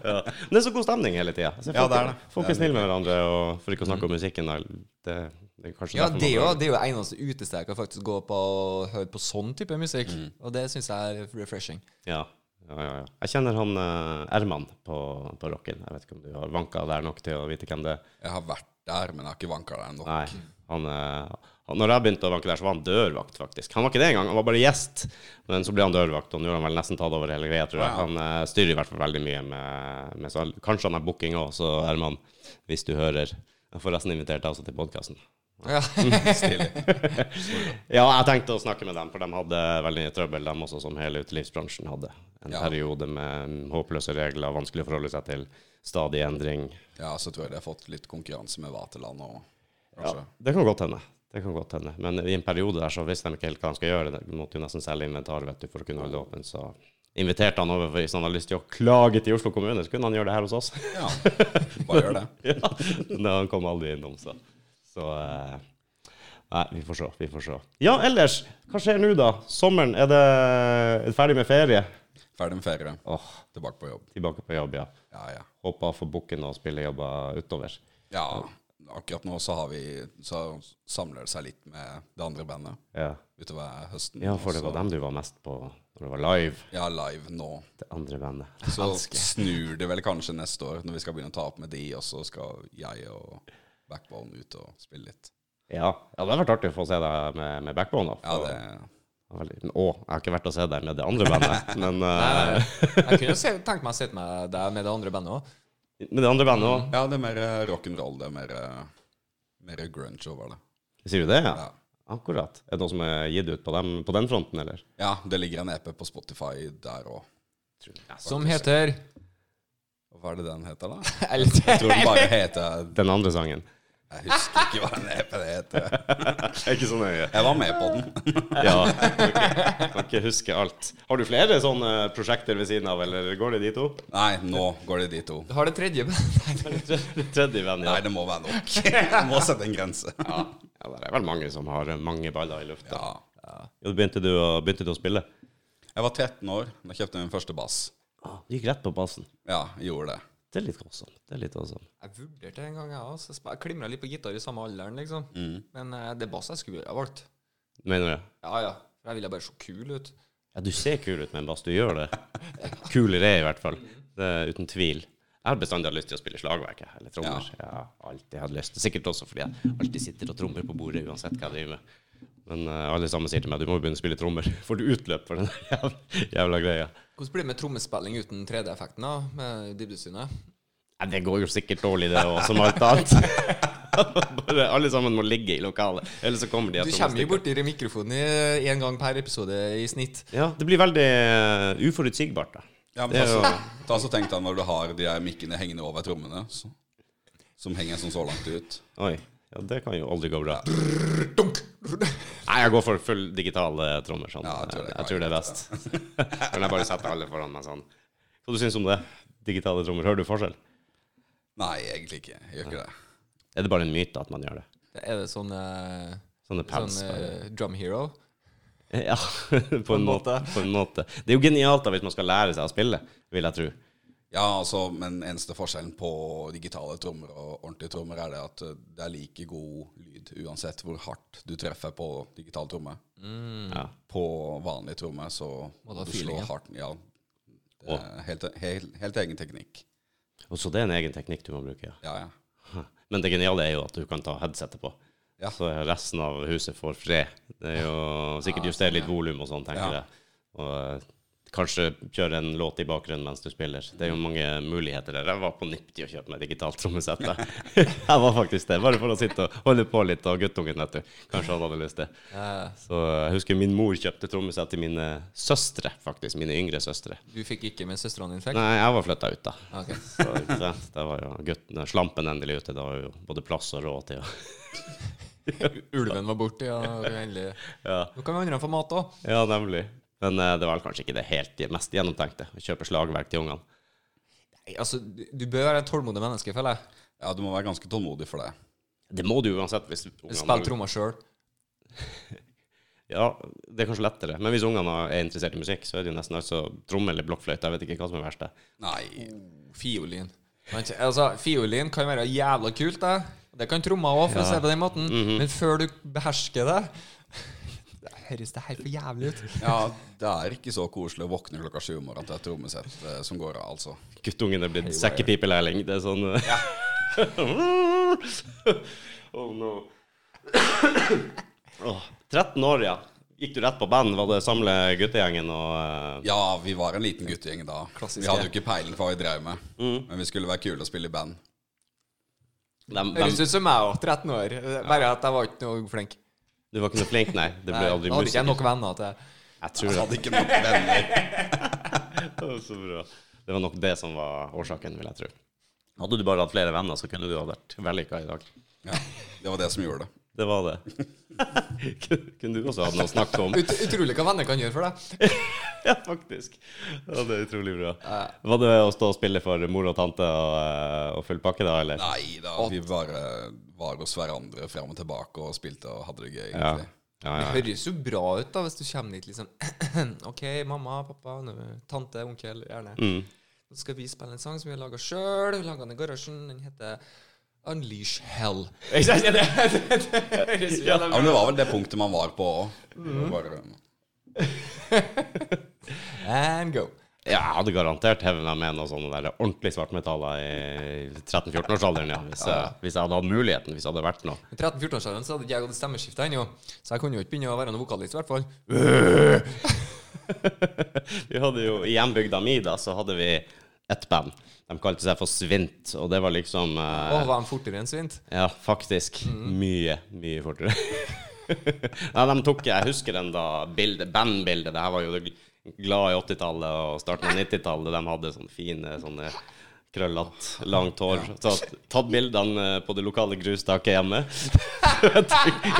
A: Ja. Men det er så god stemning hele tida.
C: Ja, det er det.
A: Folk
C: Det
A: er
C: er
A: snille med hverandre, og for ikke å snakke om musikken. da, Det, det er kanskje
B: Mm. Ja,
A: derfor
B: det er jo
A: man-
B: det er jo eneste utestedet jeg kan faktisk gå på og høre på sånn type musikk. Og det syns jeg er refreshing.
A: Ja. Ja, ja, ja. Jeg kjenner han eh, Erman på, på rocken. Jeg vet ikke om du har vanka der nok til å vite hvem det er.
C: Jeg har vært der, men jeg har ikke vanka der ennå.
A: Nei. Han, eh, han, når jeg begynte å vanke der, så var han dørvakt, faktisk. Han var ikke det engang, han var bare gjest. Men så ble han dørvakt, og nå har han vel nesten tatt over hele greia, tror jeg.
C: Wow.
A: Han eh, styrer i hvert fall veldig mye med, med så, Kanskje han har booking òg, så Erman, hvis du hører Jeg får resten invitert deg også til podkasten.
B: Ja.
C: Stilig.
A: Ja, jeg tenkte å snakke med dem, for de hadde veldig mye trøbbel, dem også, som hele utelivsbransjen hadde. En
C: Ja.
A: periode med mm, håpløse regler, vanskelig å forholde seg til, stadig endring.
C: Ja, så tror jeg de har fått litt konkurranse med Vaterland og kanskje.
A: Det kan godt hende. Det kan godt hende. Men i en periode der så visste de ikke helt hva de skal gjøre. De måtte jo nesten selge inventar vet du, for å kunne holde åpent. Så inviterte han over for hvis han hadde lyst til å klage til Oslo kommune, så kunne han gjøre det her hos oss.
C: Ja, bare gjør det.
A: ja. Men han kom aldri innom, så. Så eh, Nei, vi får se. Vi får se. Ja, ellers, hva skjer nå, da? Sommeren, er det er det ferdig med ferie?
C: Ferdig med ferie.
A: Åh,
C: Tilbake på jobb.
A: tilbake på jobb, ja.
C: Ja, ja.
A: Håper å få booke noen spillejobber utover.
C: ja akkurat nå så, har vi, så samler det seg litt med det andre bandet
A: Ja.
C: utover høsten.
A: ja, for det
C: og så-
A: var dem du var mest på når det var live.
C: Ja, live nå.
A: Det andre bandet.
C: Så snur det vel kanskje neste år, når vi skal begynne å ta opp med de, og så skal jeg og Backbone ut og spille litt.
A: Ja. ja, det hadde vært artig å få se deg med, med backbone. da.
C: Ja,
A: For-
C: det
A: Ja, veldig. Å, jeg har ikke vært og sett deg med det andre bandet. Men eh,
B: Jeg, jeg kunne se, tenkt meg å sitte med deg med det andre bandet òg.
A: med det andre bandet òg.
C: Ja, det er mer eh, rock'n'roll. Det er mer, eh, mer grunge over det.
A: Sier du det? Ja.
C: Ja.
A: Akkurat. Er det noe som er gitt ut på, dem, på den fronten, eller?
C: ja, det ligger en EP på Spotify der òg.
B: Som heter
C: Hva er det den heter, da? Jeg
B: LT.
C: tror den bare heter
A: Den andre sangen.
C: Jeg husker ikke hva den EP heter.
A: Jeg er ikke så nøye.
C: sånn Jeg var med på den.
A: Ja, kan ikke, kan ikke huske alt. Har du flere sånne prosjekter ved siden av, eller går det de to?
C: Nei, nå går det de to.
B: Har det tredje bandet.
A: Tredje venn, ja.
C: Nei, det må være nok. Jeg må sette en grense. Ja.
A: ja. Det er vel mange som har mange baller i lufta.
C: ja.
A: Ja, begynte, du å, begynte du å spille?
C: Jeg var 13 år da jeg kjøpte min første bass.
A: Ah, du gikk rett på basen.
C: Ja, gjorde det.
A: Det er litt awesome. Det er litt awesome.
B: Jeg vurderte en gang, jeg òg. Jeg sp- jeg klimra litt på gitar i samme alderen, liksom. Men eh, det er bass jeg skulle ha valgt.
A: Mener du?
B: Ja, ja. For jeg ville bare se kul ut.
A: Ja, du ser kul ut med en bass. Du gjør det. Kulere er jeg i hvert fall. Det er uten tvil. Jeg har bestandig hatt lyst til å spille slagverk jeg, eller trommer. Jeg har alltid hatt lyst. Sikkert også fordi jeg alltid sitter og trommer på bordet uansett hva jeg driver med. Men eh, alle sammen sier til meg du må jo begynne å spille trommer. Får du utløp for den jævla, jævla greia?
B: Hvordan blir det med trommespilling uten 3D-effekten, da? Med dybdesynet?
A: Nei, det går jo sikkert dårlig, det òg, som alt annet. Bare alle sammen må ligge i lokalet, eller så kommer de
B: Du
A: etter
B: kommer jo
A: noen stykker.
B: borti mikrofonen i- en gang per episode i snitt.
A: Ja, det blir veldig eh, uforutsigbart, da.
C: Ja, men
A: Det
C: ta,
A: er jo-
C: så, ta så tenk deg når du har de der mikkene hengende over trommene, så, som henger sånn så langt ut.
A: Oi. Ja, det kan jo aldri gå bra. Nei, jeg går for full digital eh, trommer. Sånn.
C: Ja, jeg
A: jeg,
C: tror det kan
A: tror det er best. Kan jeg bare sette alle foran meg sånn. Hva du syns du om det? Digitale trommer, hører du forskjell?
C: Nei, egentlig ikke. Jeg gjør ikke det.
A: Er det bare en myte at man gjør det?
B: Er det sånn, eh,
A: Sånne
B: sånn
A: pads? bare.
B: eh, drum hero?
A: Ja, på en måte. På en måte. Det er jo genialt da hvis man skal lære seg å spille, vil jeg tro.
C: Ja, altså, men eneste forskjellen på digitale trommer og ordentlige trommer er det at eh, det er like god lyd uansett hvor hardt du treffer på digital tromme.
A: Ja.
C: På vanlig tromme så
B: da
C: må du slå
B: feelingen.
C: hardt. Ja, det er helt, helt, helt egen teknikk.
A: Og så det er en egen teknikk du må bruke, ja.
C: Ja, ja.
A: Men det geniale er jo at du kan ta headsetet på.
C: Ja.
A: Så resten av huset får fred. Det er jo sikkert justere litt volum og sånn, tenker
C: Ja.
A: jeg. Og eh, kanskje kjøre en låt i bakgrunnen mens du spiller. Det er jo mange muligheter der. Jeg var på nippet i å kjøpe meg digitalt trommesett. jeg. jeg var faktisk det, bare for å sitte og holde på litt. Og guttungen, vet du. Kanskje han hadde lyst til.
B: Eh,
A: Så jeg husker min mor kjøpte trommesett til mine søstre, faktisk. Mine yngre søstre.
B: du fikk ikke med søstrene dine, fikk?
A: Nei, jeg var flytta ut, da.
B: Ok.
A: Så, ikke sant? Da var jo gutten, slampen endelig ute. Da var jo både plass og råd til å
B: Ulven var borte, ja. det var endelig.
A: ja.
B: Nå kan vi andre få mat òg.
A: ja, nemlig. Men eh, det var kanskje ikke det helt mest gjennomtenkte. Å kjøpe slagverk til ungene.
B: Altså, du du bør være et tålmodig menneske, føler jeg.
C: ja, du må være ganske tålmodig for det.
A: Det må du uansett hvis
B: Spill trommer sjøl.
A: Ja, det er kanskje lettere. Men hvis ungene er interessert i musikk, så er det jo nesten altså tromme eller blokkfløyte. Jeg vet ikke hva som er verst. det.
C: Nei,
B: Fiolin. Men, altså, fiolin kan være jævla kult, det. Det kan trommer òg, for å si det på den måten.
A: Mhm.
B: Men før du behersker det Det Høres det her for jævlig ut?
C: ja, det er ikke så koselig å våkne klokka sju om morgenen til et trommesett eh, som går av, altså.
A: Guttungen er blitt sekkepipelærling. Det er sånn eh. Oh no. Åh, 13 år, ja. Gikk du rett på band? Var det samle guttegjengen og eh,
C: Ja, vi var en liten guttegjeng da.
B: Klassisk,
C: vi hadde
B: ja.
C: jo ikke peiling på hva vi drev med,
A: Mm.
C: men vi skulle være kule og spille i band.
A: dem- dem-
B: Høres ut som meg òg, 13 år. Bare at jeg var ikke noe flink.
A: Du var ikke noe flink, nei. Det
B: Nei,
A: ble
B: da
A: aldri
B: hadde ikke jeg
A: musikk.
B: nok venner til
A: Jeg tror
C: Vi Altså,
A: det.
C: hadde ikke nok venner.
A: Det var Så bra. Det var nok det som var årsaken, vil jeg tro. Hadde du bare hatt flere venner, så kunne du ha vært vellykka i dag.
C: Ja, det var det som gjorde det.
A: Det var det. Kunne du også hatt noe å snakke om?
B: Ut, utrolig hva venner kan gjøre for deg.
A: Ja, faktisk. Ja, det er utrolig bra. Var det å stå og spille for mor og tante og, eh, og full pakke, da, eller?
C: Nei da, vi bare var hos hverandre fram og tilbake og spilte og hadde det gøy.
A: Ja.
C: egentlig.
A: Ja,
B: Det
A: ja.
B: høres jo bra ut da hvis du kommer dit liksom OK, mamma, pappa, nå- tante, onkel, gjerne.
A: Mm.
B: Nå skal vi spille en sang som vi har laga sjøl. Laga den i garasjen. Den heter Unleash Hell.
A: Ikke sant?
B: Det, det, det høres jo
C: Ja, men det var vel det punktet man var på òg.
B: And go.
A: Ja, jeg hadde garantert hevet meg med noe sånne der ordentlig svartmetaller i 13-14-årsalderen, ja. Hvis jeg, hvis jeg hadde hatt muligheten, hvis det hadde vært noe.
B: I 13-14-årsalderen så hadde ikke jeg gått stemmeskifte ennå, så jeg kunne jo ikke begynne å være noen vokalist, i hvert fall.
A: Vi hadde jo, I hjembygda mi da, så hadde vi ett band. De kalte seg for Svint, og det var liksom eh,
B: Å, var de fortere enn Svint?
A: Ja, faktisk. Mye, mye fortere. Nei, de tok Jeg husker den da bildet, bandbildet. Det her var jo det gl- glad i 80-tallet og starten av 90-tallet. De hadde sånne fine sånne krøllete, langt hår. Så at- tatt bildene eh, på det lokale grustaket hjemme.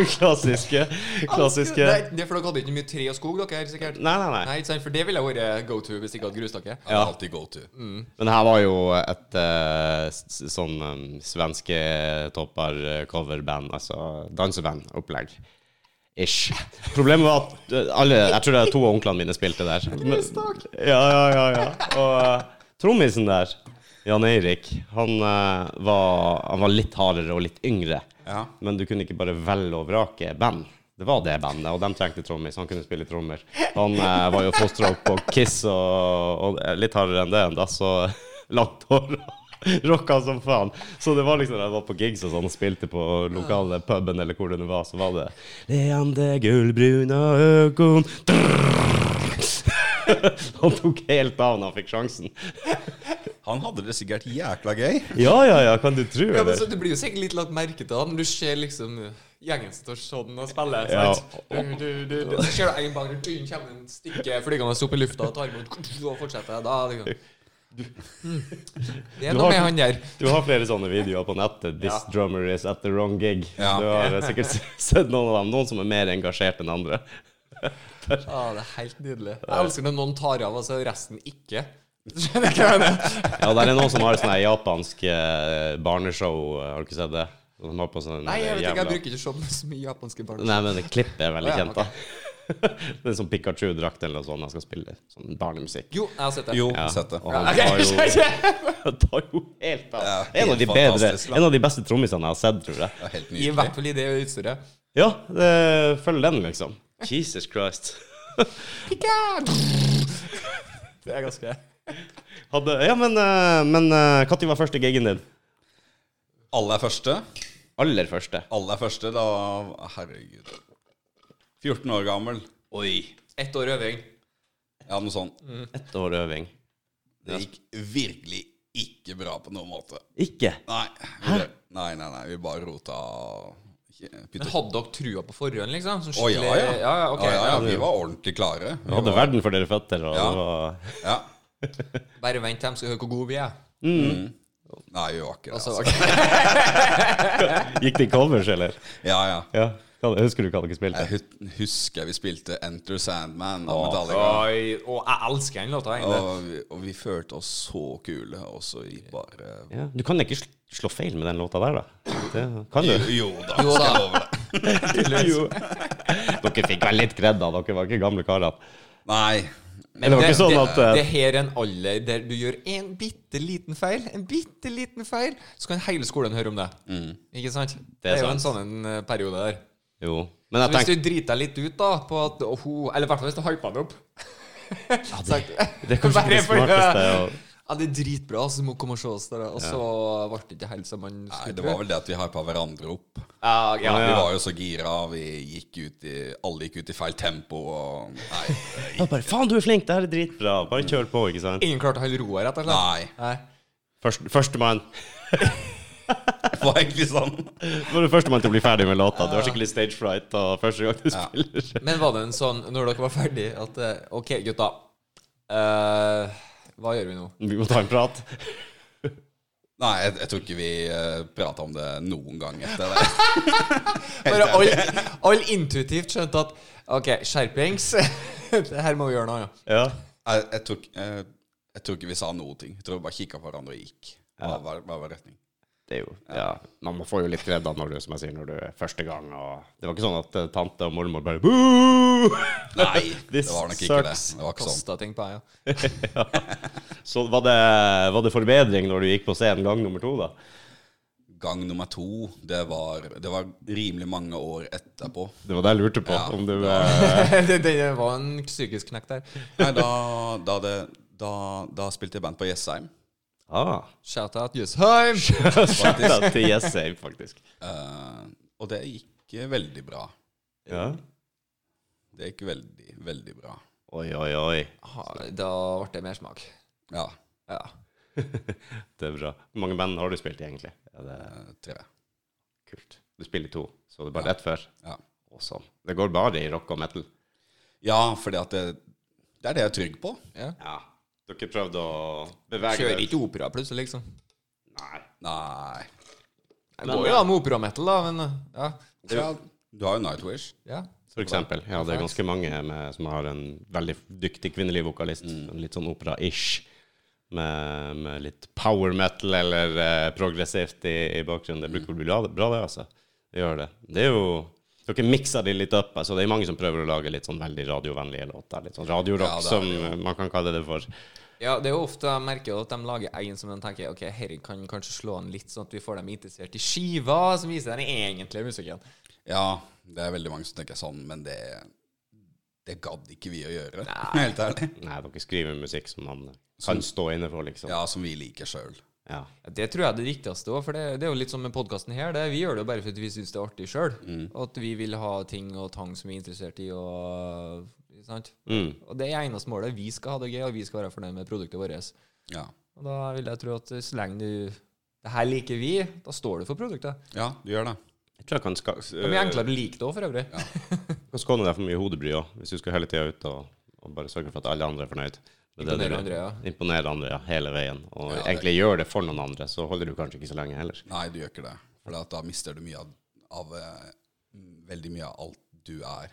A: klassiske.
B: Det,
A: Klassiske.
B: det er for dere hadde ikke mye tre og skog, dere, sikkert?
A: Nei, nei, nei.
B: Nei, ikke sant, for det ville jeg vært go to hvis jeg ikke hadde grustakke.
C: Ja. Alltid go to.
A: Men det her var jo et eh, s- s- sånn um, svenske topper-coverband, altså danseband-opplegg. Ish. Problemet var at eh, alle Jeg tror det er to av onklene mine spilte der. Men, ja, ja, ja, ja. Og eh, trommisen der, Jan Eirik, han, eh, var, han var litt hardere og litt yngre.
C: Ja.
A: Men du kunne ikke bare velge og vrake band. Det var det bandet, og de trengte trommis. Han kunne spille trommer. Han eh, var jo fostra opp på Kiss og, og eh, litt hardere enn det ennå, så langt hår. Rocka som faen. Så det var liksom når jeg var på gigs og sånn og spilte på lokale puben eller hvor det nå var, så var det Leander gullbruna øgon Han tok helt av når han fikk sjansen.
C: Han hadde det sikkert jækla gøy.
A: Ja, ja, ja, kan du tro,
B: Ja, men
A: eller?
B: så Du blir jo sikkert litt lagt merke til når du ser liksom gjengen som står sånn og spiller.
A: Ja.
B: Sant? Du, du, du, du. Så ser du en bak rundt øynene, kommer en stykke flygende opp i lufta og tar imot og fortsetter. Da, liksom. hm, Det er
A: Du
B: noe
A: har-
B: med han der.
A: Du har flere sånne videoer på nettet. 'This drummer is at the wrong gig'.
C: Ja.
A: Du har eh, sikkert s- sett noen av dem. Noen som er mer engasjert enn andre.
B: Ah, det er helt nydelig. Jeg elsker når noen tar av, og så resten ikke. Skjønner jeg hva jeg mener?
A: Ja, der er noen som har sånn her japansk eh, barneshow. eh, Har du ikke sett det? De har på sånn
B: Nei, jeg vet ikke, jeg
A: jævla-
B: bruker ikke så mye- så mye japanske barn.
A: Nei, men det klippet er veldig
B: Å, ja,
A: kjent, da. det er sånn Pikachu-drakt eller noe sånt han skal spille. Sånn barnemusikk.
B: Jo, jeg har sett det.
C: Jo,
A: Ja,
C: sett det.
A: Og han
B: Ok,
A: tar jo,
B: skjønner.
A: han tar jo helt av.
C: Ja, helt
A: en, av de bedre,
C: fantastisk, da.
A: en av de beste trommisene jeg har sett, tror jeg.
C: Ja, helt
B: I
C: nydelig.
B: hvert fall i det utstyret.
A: Ja, det, følg den, liksom. Jesus Christ.
B: Det er ganske
A: Hadde, ja, men, eh, men eh, hva tid var første gigen din?
C: Alle er første.
A: Aller første.
C: Alle er første. Da Herregud. 14 år gammel. Oi. Mm.
B: Ett år øving.
C: Ja, noe sånt.
A: Ett år øving.
C: Det gikk virkelig ikke bra på noen måte.
A: Ikke?
C: Nei. Vi, nei, nei, nei. Vi bare rota og
B: Men
C: putta
B: hadde dere trua på forhånd, liksom? Sånn
C: Å ja, ja.
B: skikkelig- ja, ja, ok.
C: ja, ja, Vi var ordentlig klare. Vi
A: Du hadde
C: var,
A: verden for dere føtter, og
C: Ja.
A: det var
C: ja.
B: Bare vent, de skal høre hvor gode vi er.
C: Nei, vi var ikke det.
B: Altså,
C: Altså.
B: ok.
A: Gikk det i covers, eller?
C: altså. Ja, ja.
A: Ja. Hva- Husker du hva dere spilte?
C: Jeg hu- husker vi spilte Enter Sandman av Metallica.
B: Oi, og jeg elsker den låta, egentlig.
C: Og vi, og vi følte oss så kule, og så vi bare
A: Ja. Du kan ikke sl- slå feil med den låta der, da. Det kan
C: Jo,
A: du.
C: jo da, skal jeg love deg.
A: Jo. Dere fikk vel litt kred, da. Dere var ikke gamle karer.
C: Nei.
A: Men det var ikke sånn at
B: det,
A: eh,
B: det her er en alder der du gjør en bitte liten feil, en bitte liten feil, så kan hele skolen høre om det. Ikke sant? Det er, jo en sånn en eh, periode der.
A: Jo. Men jeg
B: Så hvis
A: tenkte
B: du driter deg litt ut, da, på at oh, ho- Eller i hvert fall hvis du hyper den opp.
A: Det er kanskje ikke det smarteste. å-
B: Ja, det er dritbra, så du må komme og se oss der. Og så ble det ikke helt som man
C: Nei,
B: skulle
C: det var vel det at vi hypa hverandre opp.
B: Ja, ja.
C: Vi var jo så gira, vi gikk ut i Alle gikk ut i feil tempo og Nei.
A: Ja, bare, Faen, du er flink! Det her er dritbra. Bare kjør på, ikke sant?
B: Ingen klarte å holde roa, rett og slett?
C: Nei.
B: Nei.
A: Først- Førstemann.
C: Det var egentlig sånn.
A: Du var førstemann til å bli ferdig med låta. Du har skikkelig stage fright og første gang du spiller.
B: Men var det en sånn, når dere var ferdig, at eh, OK, gutta. eh, hva gjør vi nå?
A: Vi må ta en prat.
C: Nei, jeg, jeg tror ikke vi uh, prata om det noen gang etter det.
B: Bare alle all intuitivt skjønte at OK, skjerpings. Det her må vi gjøre noe. Ja.
A: Ja.
C: Jeg, jeg, tror, ikke- eh, jeg tror ikke vi sa noen ting. Jeg tror vi bare kikka på hverandre og gikk. Hva
A: Ja.
C: var, hva var retning?
A: Det er jo, ja. Man får jo litt kredda når du, som jeg sier, når du er første gang. Og det var ikke sånn at eh, tante og mormor bare Boo!
C: Nei,
A: This
C: det var nok ikke
A: sucks.
C: det. Det var ikke sånn.
B: Kosta ting på meg, ja.
A: Så var det, var det forbedring når du gikk på scenen gang nummer to, da?
C: Gang nummer to, det var, det var rimelig mange år etterpå.
A: Det var det jeg lurte på.
C: Ja.
A: Om du eh,
B: det, det var en psykisk knekk der.
C: Nei, da, da, det, da, da spilte jeg band på Jessheim.
A: ah,
B: Shout-out Jøsheim!
A: Skjønner til Yes Save, faktisk.
C: Eh, og det gikk eh, veldig bra.
A: Ja.
C: Det gikk veldig, veldig bra.
A: Oi, oi, oi.
B: Ha- Da ble det mersmak.
C: Ja,
B: Ja.
A: Det er bra. Hvor mange band har du spilt i, egentlig? Ja, det er
C: eh, tre.
A: kult. Du spiller to, så det er bare ett før.
C: Ja,
A: Og sånn. Det går bare i rock og metal.
C: ja fordi at det, det er det jeg er trygg på.
B: ja.
A: Ja. Du har ikke prøvd å bevege
B: Kjører
A: deg?
B: ikke opera plutselig, liksom.
A: Nei.
C: Nei.
B: Det går jo da med operametal, da, men ja.
C: Ja, du har jo Nightwish.
B: ja.
A: For eksempel. Ja, det er ganske mange med, som har en veldig dyktig kvinnelig vokalist.
C: Mm.
A: En Litt sånn opera-ish. Med, med litt power metal eller eh, progressivt i, i bakgrunnen. Det bruker å
C: Mm.
A: bli bra, bra det, altså. Det gjør det. Det er jo dere mikser de litt opp. altså Det er mange som prøver å lage litt sånn veldig radiovennlige låter. Litt sånn radiorock,
C: Ja, det er
A: som eh, man kan kalle det for.
B: Ja, det er jo ofte jeg merker jo at de lager en som de tenker Ok, herre kan kanskje slå an litt, sånn at vi får dem interessert i skiva, som viser den egentlige musikken.
C: Ja, det er veldig mange som tenker sånn, men det, det gadd ikke vi å gjøre. Helt ærlig.
A: Nei, dere skriver musikk som man kan stå inne for,
B: Sånn.
A: liksom.
C: Ja, som vi liker sjøl.
A: Ja.
B: Ja, Det tror jeg er det riktigste òg, for det, det er jo litt som med podkasten her. Det, vi gjør det jo bare fordi vi syns det er artig sjøl. At vi vil ha ting og tang som vi er interessert i, og sant?
A: Mm.
B: Og det er eneste målet. Vi skal ha det gøy, og vi skal være fornøyd med produktet vårt.
C: Ja.
B: Og da vil jeg tro at så lenge du Det her liker vi, da står du for produktet.
C: ja, du gjør det.
A: Jeg tror jeg kan ska...
B: Det er mye enklere å like det òg, for øvrig.
A: kan skåne deg for mye hodebry òg, hvis du skal hele tida ut og, og bare sørge for at alle andre er fornøyd. Med det du
B: Imponere
A: gjør.
B: andre, ja.
A: Imponere andre ja, hele veien. Og
C: Ja, det-
A: egentlig gjør det for noen andre, så holder du kanskje ikke så lenge heller.
C: Nei, du gjør ikke det. For da mister du mye av, av eh, Veldig mye av alt du er.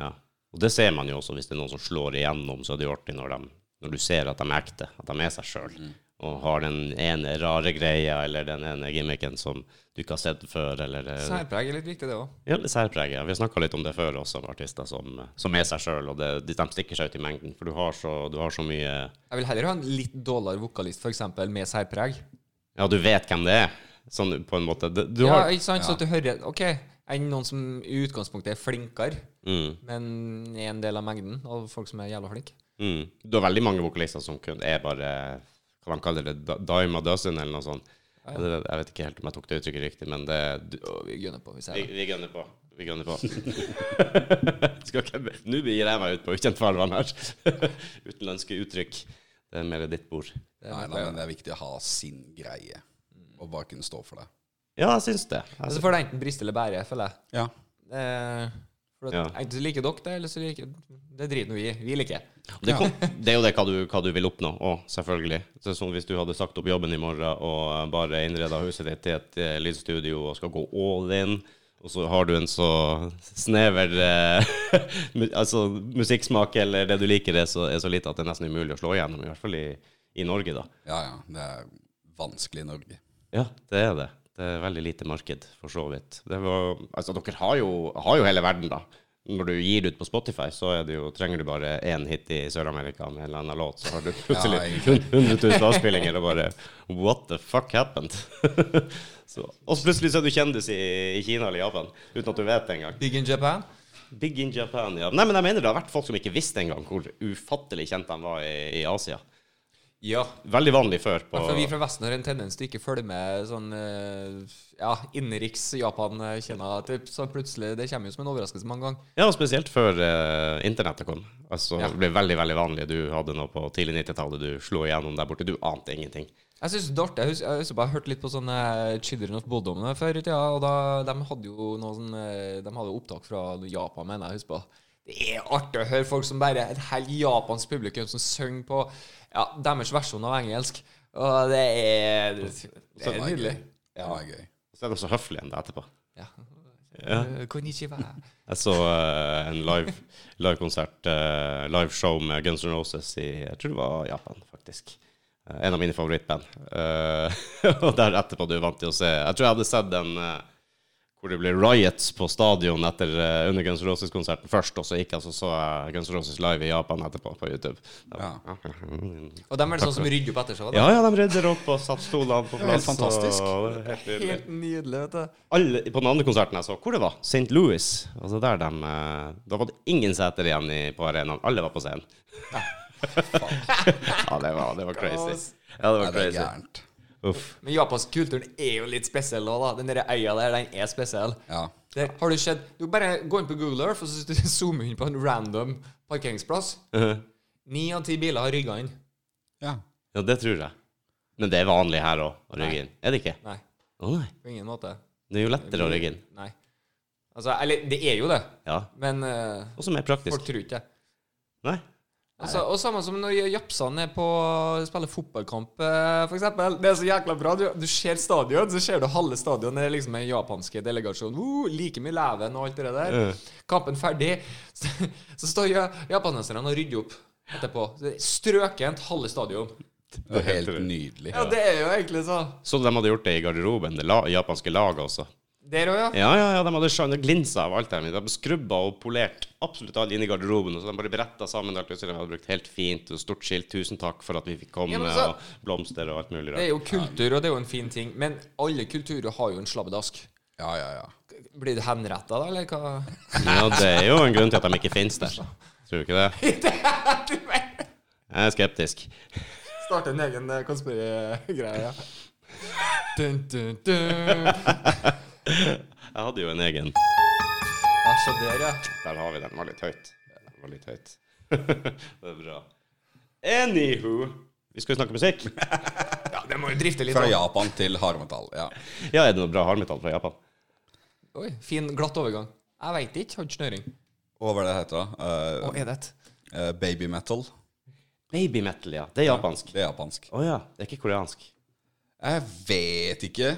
A: Ja. Og det ser man jo også hvis det er noen som slår igjennom, så er det jo artig når, de, når du ser at de er ekte, at de er seg sjøl.
C: Mm.
A: Og har den ene rare greia eller den ene gimmicken som du ikke har sett før, eller eh,
B: Særpreg er litt viktig, det òg.
A: Ja, det særpreget. Vi har snakka litt om det før også, om artister som, eh, som er seg sjøl, og det, de de stikker seg ut i mengden. For du har så, du har så mye
B: Jeg vil heller ha en litt dårligere vokalist, f.eks., med særpreg.
A: Ja, du vet hvem det er, sånn på en måte. Du, du
B: Ja,
A: har
B: ikke sant? Så at du hører OK, enn noen som i utgangspunktet er flinkere,
A: mm,
B: men er en del av mengden av folk som er jævla flinke.
A: mm. Du har veldig mange vokalister som kun er bare Hva man kaller det? da- Dime a dozen, eller noe sånt. Ja, det, jeg vet ikke helt om jeg tok det uttrykket riktig, men det du,
B: Og vi gunner på, hvis
A: vi,
B: jeg
A: vi gønner på. Vi gønner på. Skal ikke Nå begir jeg meg ut på ukjent farvann her. Utenlandske uttrykk. Det er mer ditt bord.
C: Nei, nei, men det er viktig å ha sin greie,
B: Mm.
C: og bare kunne stå for det.
A: Ja, jeg syns det.
B: Så
A: Jeg
B: får det enten briste eller bære, føler jeg.
C: Ja.
B: Eh, for at,
A: Ja.
B: Enten så liker dere det, eller så liker Det driter nå vi i. Vi liker det.
A: Det, kom, det er jo det hva du, hva du vil oppnå òg, selvfølgelig. Så sånn hvis du hadde sagt opp jobben i morgen og eh, bare innreda huset ditt til et eh, lydstudio og skal gå all in, og så har du en så snever eh, mu- altså, musikksmak eller det du liker, er så, er så lite at det er nesten umulig å slå igjennom, i hvert fall i, i Norge, da.
C: ja, ja. Det er vanskelig i Norge.
A: Ja, det er det. Det er veldig lite marked, for så vidt. Det var, altså, dere har jo, har jo hele verden, da. Når du gir det ut på Spotify, så er det jo, trenger du bare én hit i Sør-Amerika med en eller annen låt, så har du plutselig
C: Ja, egentlig.
A: 100 000 avspillinger og bare What the fuck happened? så, og så plutselig så er du kjendis i, i Kina eller Japan, uten at du vet det engang.
B: Big in Japan.
A: Big in Japan, ja. Nei, men jeg mener det har vært folk som ikke visste engang hvor ufattelig kjent de var i, i Asia.
B: Ja.
A: Veldig vanlig før på
B: For vi fra Vesten har en tendens til ikke å følge med sånn eh, Ja, innenriks Japan-Kina-tips, så plutselig Det kommer jo som en overraskelse mange ganger.
A: Ja, og spesielt før eh, internettet kom. Altså,
B: Ja.
A: Det ble veldig veldig vanlig. Du hadde noe på tidlig 90-tallet, du slo igjennom der borte. Du ante ingenting.
B: Jeg synes det er artig. Jeg husker, jeg husker bare jeg hørte litt på sånne eh, Children of Bodom før i tida. Og da, de hadde jo noe sånn, eh, de hadde jo opptak fra Japan, mener jeg. husker på. Det er artig å høre folk som bare Et helt japansk publikum som synger på ja, deres versjon av engelsk. Og det er Det er
C: var
B: nydelig.
C: gøy. Det var gøy.
A: Så er de så høflige igjen etterpå.
B: Ja.
A: Ja.
B: Eh, Konnichiwa.
A: Jeg så eh, en live livekonsert, uh, liveshow med Guns N' Roses i jeg tror det var Japan, faktisk. Eh, en av mine favorittband. Eh, og der etterpå du er vant til å se Jeg tror jeg hadde sett den eh, hvor det ble riots på stadion etter, eh, under Guns N' Roses-konserten først, og så gikk jeg så så jeg Guns N' Roses live i Japan etterpå på YouTube.
C: Ja.
B: Og dem er det sånn som rydder opp etter seg. da.
A: Ja, ja, de rydder opp og satte stolene på plass.
C: Helt fantastisk.
A: og det er helt nydelig.
B: Helt nydelig, vet du.
A: alle, på den andre konserten jeg så, hvor det var, St. Louis, altså der de, eh, da var det ingen seter igjen i, på arenaen. Alle var på scenen. ja, det var, det var crazy.
C: Nei,
A: Ja, det var
C: det er
A: crazy.
C: gærent.
A: Uff.
B: Men japansk kulturen er jo litt spesiell òg, da. Den der øya der, den er spesiell.
C: Ja.
B: Der, har du sett Du bare gå inn på Google Earth og så zoome inn på en random parkeringsplass. Ni av ti biler har rygga inn.
C: ja.
A: Ja, det tror jeg. Men det er vanlig her òg, å rygge inn. Er det ikke?
B: Nei,
A: Å nei.
B: på ingen måte.
A: Det er jo lettere å rygge inn.
B: Nei. Altså, eller det er jo det,
A: Ja.
B: men eh,
A: Også mer
B: folk
A: praktisk.
B: tror ikke det.
A: Nei.
B: Altså, og samme som når japsene er på spiller fotballkamp, eh, for eksempel. Det er så jækla bra. Du, du ser stadion, så ser du halve stadion. Det er liksom en japanske delegasjon. Uh, like mye leven og alt det der.
A: Ja.
B: Kampen ferdig, så, så står ja- japanerne og rydder opp etterpå. Så det er Strøkent halve stadion.
C: Det er helt nydelig.
B: Ja, det er jo egentlig så.
A: Så de hadde gjort det i garderoben, det la, japanske laget også.
B: Der òg, ja.
A: Ja, ja, ja, de hadde skjønt glinsa av alt her. De skrubba og polert absolutt alle inne i garderoben. Og så de bare beretta sammen alt utstyret de hadde brukt helt fint. Og stort skilt 'Tusen takk for at vi fikk komme',
B: Ja, men så-
A: og blomster og alt mulig
B: Det er
A: rart.
B: jo kultur, og det er jo en fin ting. Men alle kulturer har jo en slabbedask.
C: Ja, ja, ja.
B: Blir du henretta da, eller hva?
A: Ja, det er jo en grunn til at de ikke finnes der. Tror du ikke det? Jeg er skeptisk.
B: Starte en egen eh, konspirasjonsgreie. Dun, dun, dun.
A: Jeg hadde jo en egen
B: Ja, så der, ja.
A: Der har vi den. Den var litt høyt. Den var litt høyt. det er bra. Anywho Vi skal jo snakke musikk.
B: ja. Det må jo drifte litt.
C: Fra
B: da.
C: Japan til hardmetall. Ja.
A: Ja, er det noe bra hardmetall fra Japan?
B: Oi, fin, glatt overgang. Jeg veit ikke, har ikke snøring.
C: Og hva er det det heter da? Eh,
B: Å, er det et?
C: eh, baby metal.
A: Baby metal, ja. Det er japansk.
C: Det er japansk.
A: Å ja. Det er ikke koreansk.
C: Jeg vet ikke.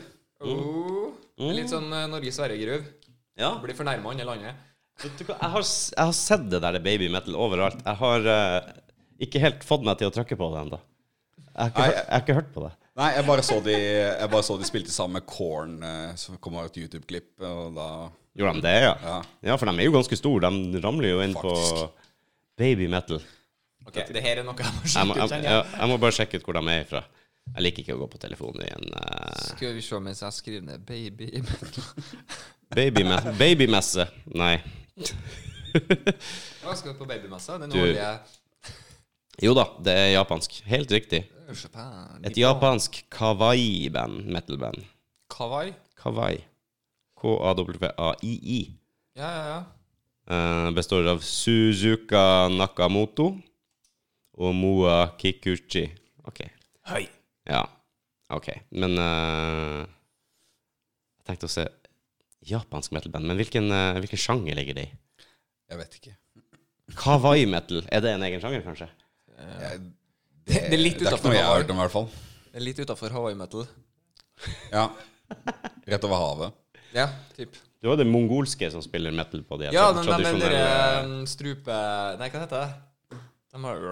B: Oh, litt sånn eh, Norge-Sverige-gruv.
A: Ja,
B: Blir fornærma andre landet.
A: Vet du hva, jeg har, s- jeg har sett det der baby metal overalt. Jeg har eh, ikke helt fått meg til å trykke på det ennå. Jeg, har ikke
C: Nei,
A: hørt- jeg har ikke hørt på det.
C: Nei, jeg bare så de, jeg bare så de spilte sammen med Korn, eh, som kom av et YouTube-klipp, og da
A: Gjorde de det, ja? ja?
C: Ja.
A: for de er jo ganske store. De ramler jo inn
C: Faktisk.
A: på baby metal.
B: Ok, Det her er noe jeg må
A: Jeg må,
B: sjekke ut.
A: jeg,
B: kjenner jeg.
A: jeg, jeg må bare sjekke ut hvor de er ifra. Jeg liker ikke å gå på telefonen igjen. eh.
B: Skal vi se mens jeg skriver ned 'baby'.
A: Baby me- Babymesse. Nei.
B: Hva skal vi på babymessa? Den
A: Du-
B: årlige
A: Jo da, det er japansk. Helt riktig.
B: Japan.
A: Et japansk kawaii-band. Metal-band.
B: Kawaii?
A: Kawaii. K-a-w-a-i-i.
B: Ja, ja, ja.
A: Eh, består av Suzuka Nakamoto og Moa Kikuchi. OK.
B: Hei.
A: Ja. OK. Men eh, Jeg tenkte å se japansk metal-band. Men hvilken, eh, hvilken sjanger ligger det i?
C: Jeg vet ikke.
A: Kawaii metal. Er det en egen sjanger, kanskje?
C: Jeg,
B: Det, det er litt
C: det er ikke
B: utafor
C: noe jeg har
B: Hawaii.
C: hørt om, i hvert fall.
B: Det er Litt utenfor Hawaii metal.
C: Ja. Rett over havet.
B: Ja, typ.
A: Det var det mongolske som spiller metal på de
B: Ja,
A: tra-
B: den, den, den der eh, strupe... Nei, hva heter det? De har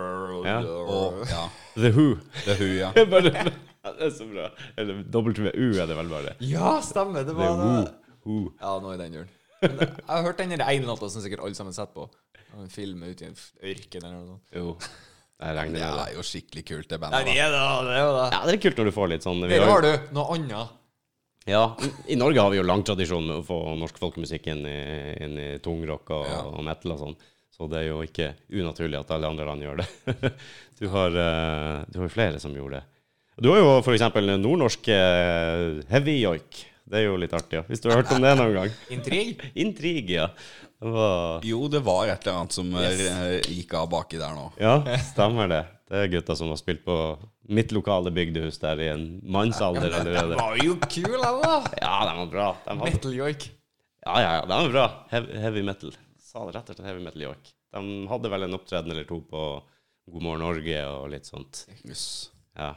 A: Ja.
C: Og ja,
B: eh,
A: The Who.
C: The Who, ja.
A: Det er bare- det er så bra. Eller WU er det vel bare.
B: Ja, stemmer. Det
A: The
B: var
A: Who.
B: det.
A: Who.
B: Ja, nå er den jul. Men Jeg har hørt den der ene låta som sikkert alle sammen setter på. Av En film ute i en f- ørken eller noe sånt.
A: Jo. Jeg regner med
C: Det
A: det.
C: er jo skikkelig kult, det
B: Nei,
C: bandet.
B: det er det, det er jo det.
A: Ja, det er kult når du får litt sånn vi
B: Der
A: har-
B: har du noe annet.
A: Ja, I Norge har vi jo lang tradisjon med å få norsk folkemusikk inn i, inn i tungrock og,
C: Ja.
A: og metal og sånn, så det er jo ikke unaturlig at alle andre land gjør det. du, har, eh, du har jo flere som gjorde det. Du har jo for eksempel nordnorsk eh, heavy joik. Det er jo litt artig, ja. hvis du har hørt om det noen gang.
B: Intrig.
A: Intrig, ja. Det var,
C: Jo, det var et eller annet som eh, gikk av baki der nå.
A: ja, stemmer det. Det er gutta som har spilt på mitt lokale bygdehus der i en mannsalder
B: Den
A: allerede.
B: var jo kul, den, da.
A: Ja, de var bra. De hadde
B: Metal joik.
A: Ja, ja, ja, de er bra. Heavy, heavy metal. Sa det rett og slett heavy metal joik. De hadde vel en opptreden eller to på God morgen Norge og litt sånt.
C: Yes.
A: Ja.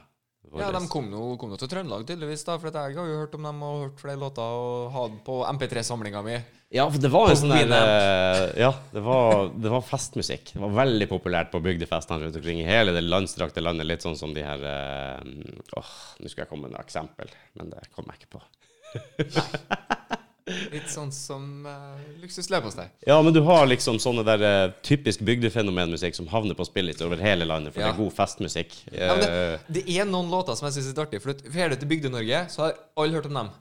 B: Ja, de kom nå, kom nå til Trøndelag, tydeligvis, da, for at jeg har jo hørt om dem og hørt flere låter og hadde på MP3-samlinga mi.
A: Ja, for det var jo
B: På
A: sånn der
B: Winamp.
A: eh, Ja, det var, det var festmusikk. Det var veldig populært på bygdefestene rundt omkring i hele det landstrakte landet. Litt sånn som de her eh, Åh, nå skal jeg komme med noe eksempel, men det kom jeg ikke på.
B: Litt sånn som uh, Luksus leverpostei.
A: Ja, men du har liksom sånne der eh, typisk bygdefenomenmusikk som havner på spillet over hele landet, for
B: Ja.
A: det er god festmusikk.
B: Ja, men det,
A: Eh,
B: det er noen låter som jeg syns er litt artig. For at Fer du til Bygde-Norge, så har alle hørt om dem.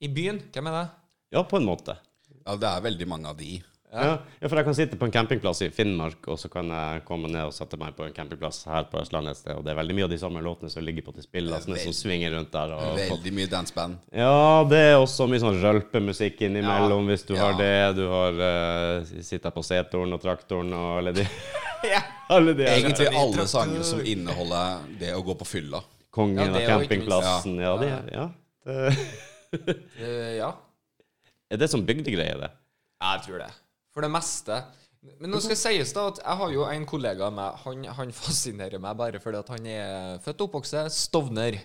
B: I byen, hvem er det?
A: ja, på en måte.
C: Ja, det er veldig mange av de.
A: Ja. ja, for jeg kan sitte på en campingplass i Finnmark, og så kan jeg komme ned og sette meg på en campingplass her på Østlandet et sted, og det er veldig mye av de samme låtene som ligger på til spillene, som svinger rundt der. Og
C: Veldig mye danseband.
A: ja, det er også mye sånn rølpemusikk innimellom,
C: Ja.
A: hvis du har
C: Ja.
A: det. Du har uh, sitta på setoren og traktoren og alle de,
B: Ja.
A: alle de her
C: Egentlig alle sanger som inneholder det å gå på fylla.
A: Kongen
B: Ja,
A: av
B: det er jo ikke minst.
A: campingplassen. Ja, det er ja. Det-
B: Eh, ja.
A: Er det sånn bygdegreie, det?
B: Ja, Jeg tror det. For det meste. Men nå skal det sies da at jeg har jo en kollega av meg. Han, han fascinerer meg bare fordi at han er født og oppvokst i Stovner.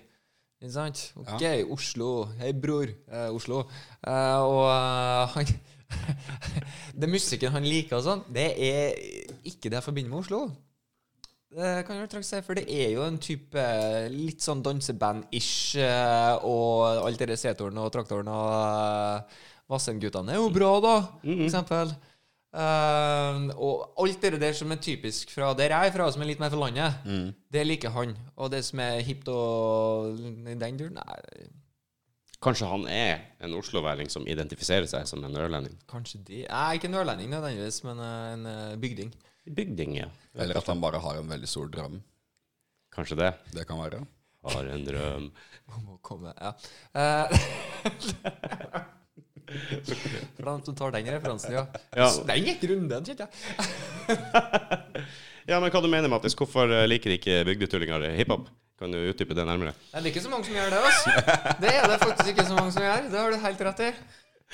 B: Ikke sant? OK, Oslo. Hei, bror. Eh, Oslo. Eh, og eh, han Den musikken han liker og sånn, det er ikke det jeg forbinder med Oslo. Det Eh, kan jeg vel trygt si, for det er jo en type litt sånn danseband-ish, eh, og alt det der setoren og traktoren og eh, Vassendguttene er jo bra, da, for eksempel. Eh, og alt det der som er typisk fra der jeg er fra, som er litt mer fra landet, det liker han. Og det som er hipt og i den duren, nei,
A: Kanskje han er en osloværing som identifiserer seg som en ørlending?
B: kanskje de Nei, ikke en ørlending nødvendigvis, men eh, en eh, bygding.
A: Bygding, ja.
C: Eller at han bare har en veldig stor drøm.
A: Kanskje det.
C: Det kan være.
A: Har en drøm.
B: Om å komme, ja. Eh, For dem som tar den referansen, ja.
A: Ja.
B: Den gikk runden, kjente jeg.
A: Ja, men hva du mener Mattis? Hvorfor eh, liker ikke bygdetullinger hiphop? Kan du utdype det nærmere?
B: Det er ikke så mange som gjør det, altså. Det er det faktisk ikke så mange som gjør. Det har du helt rett i.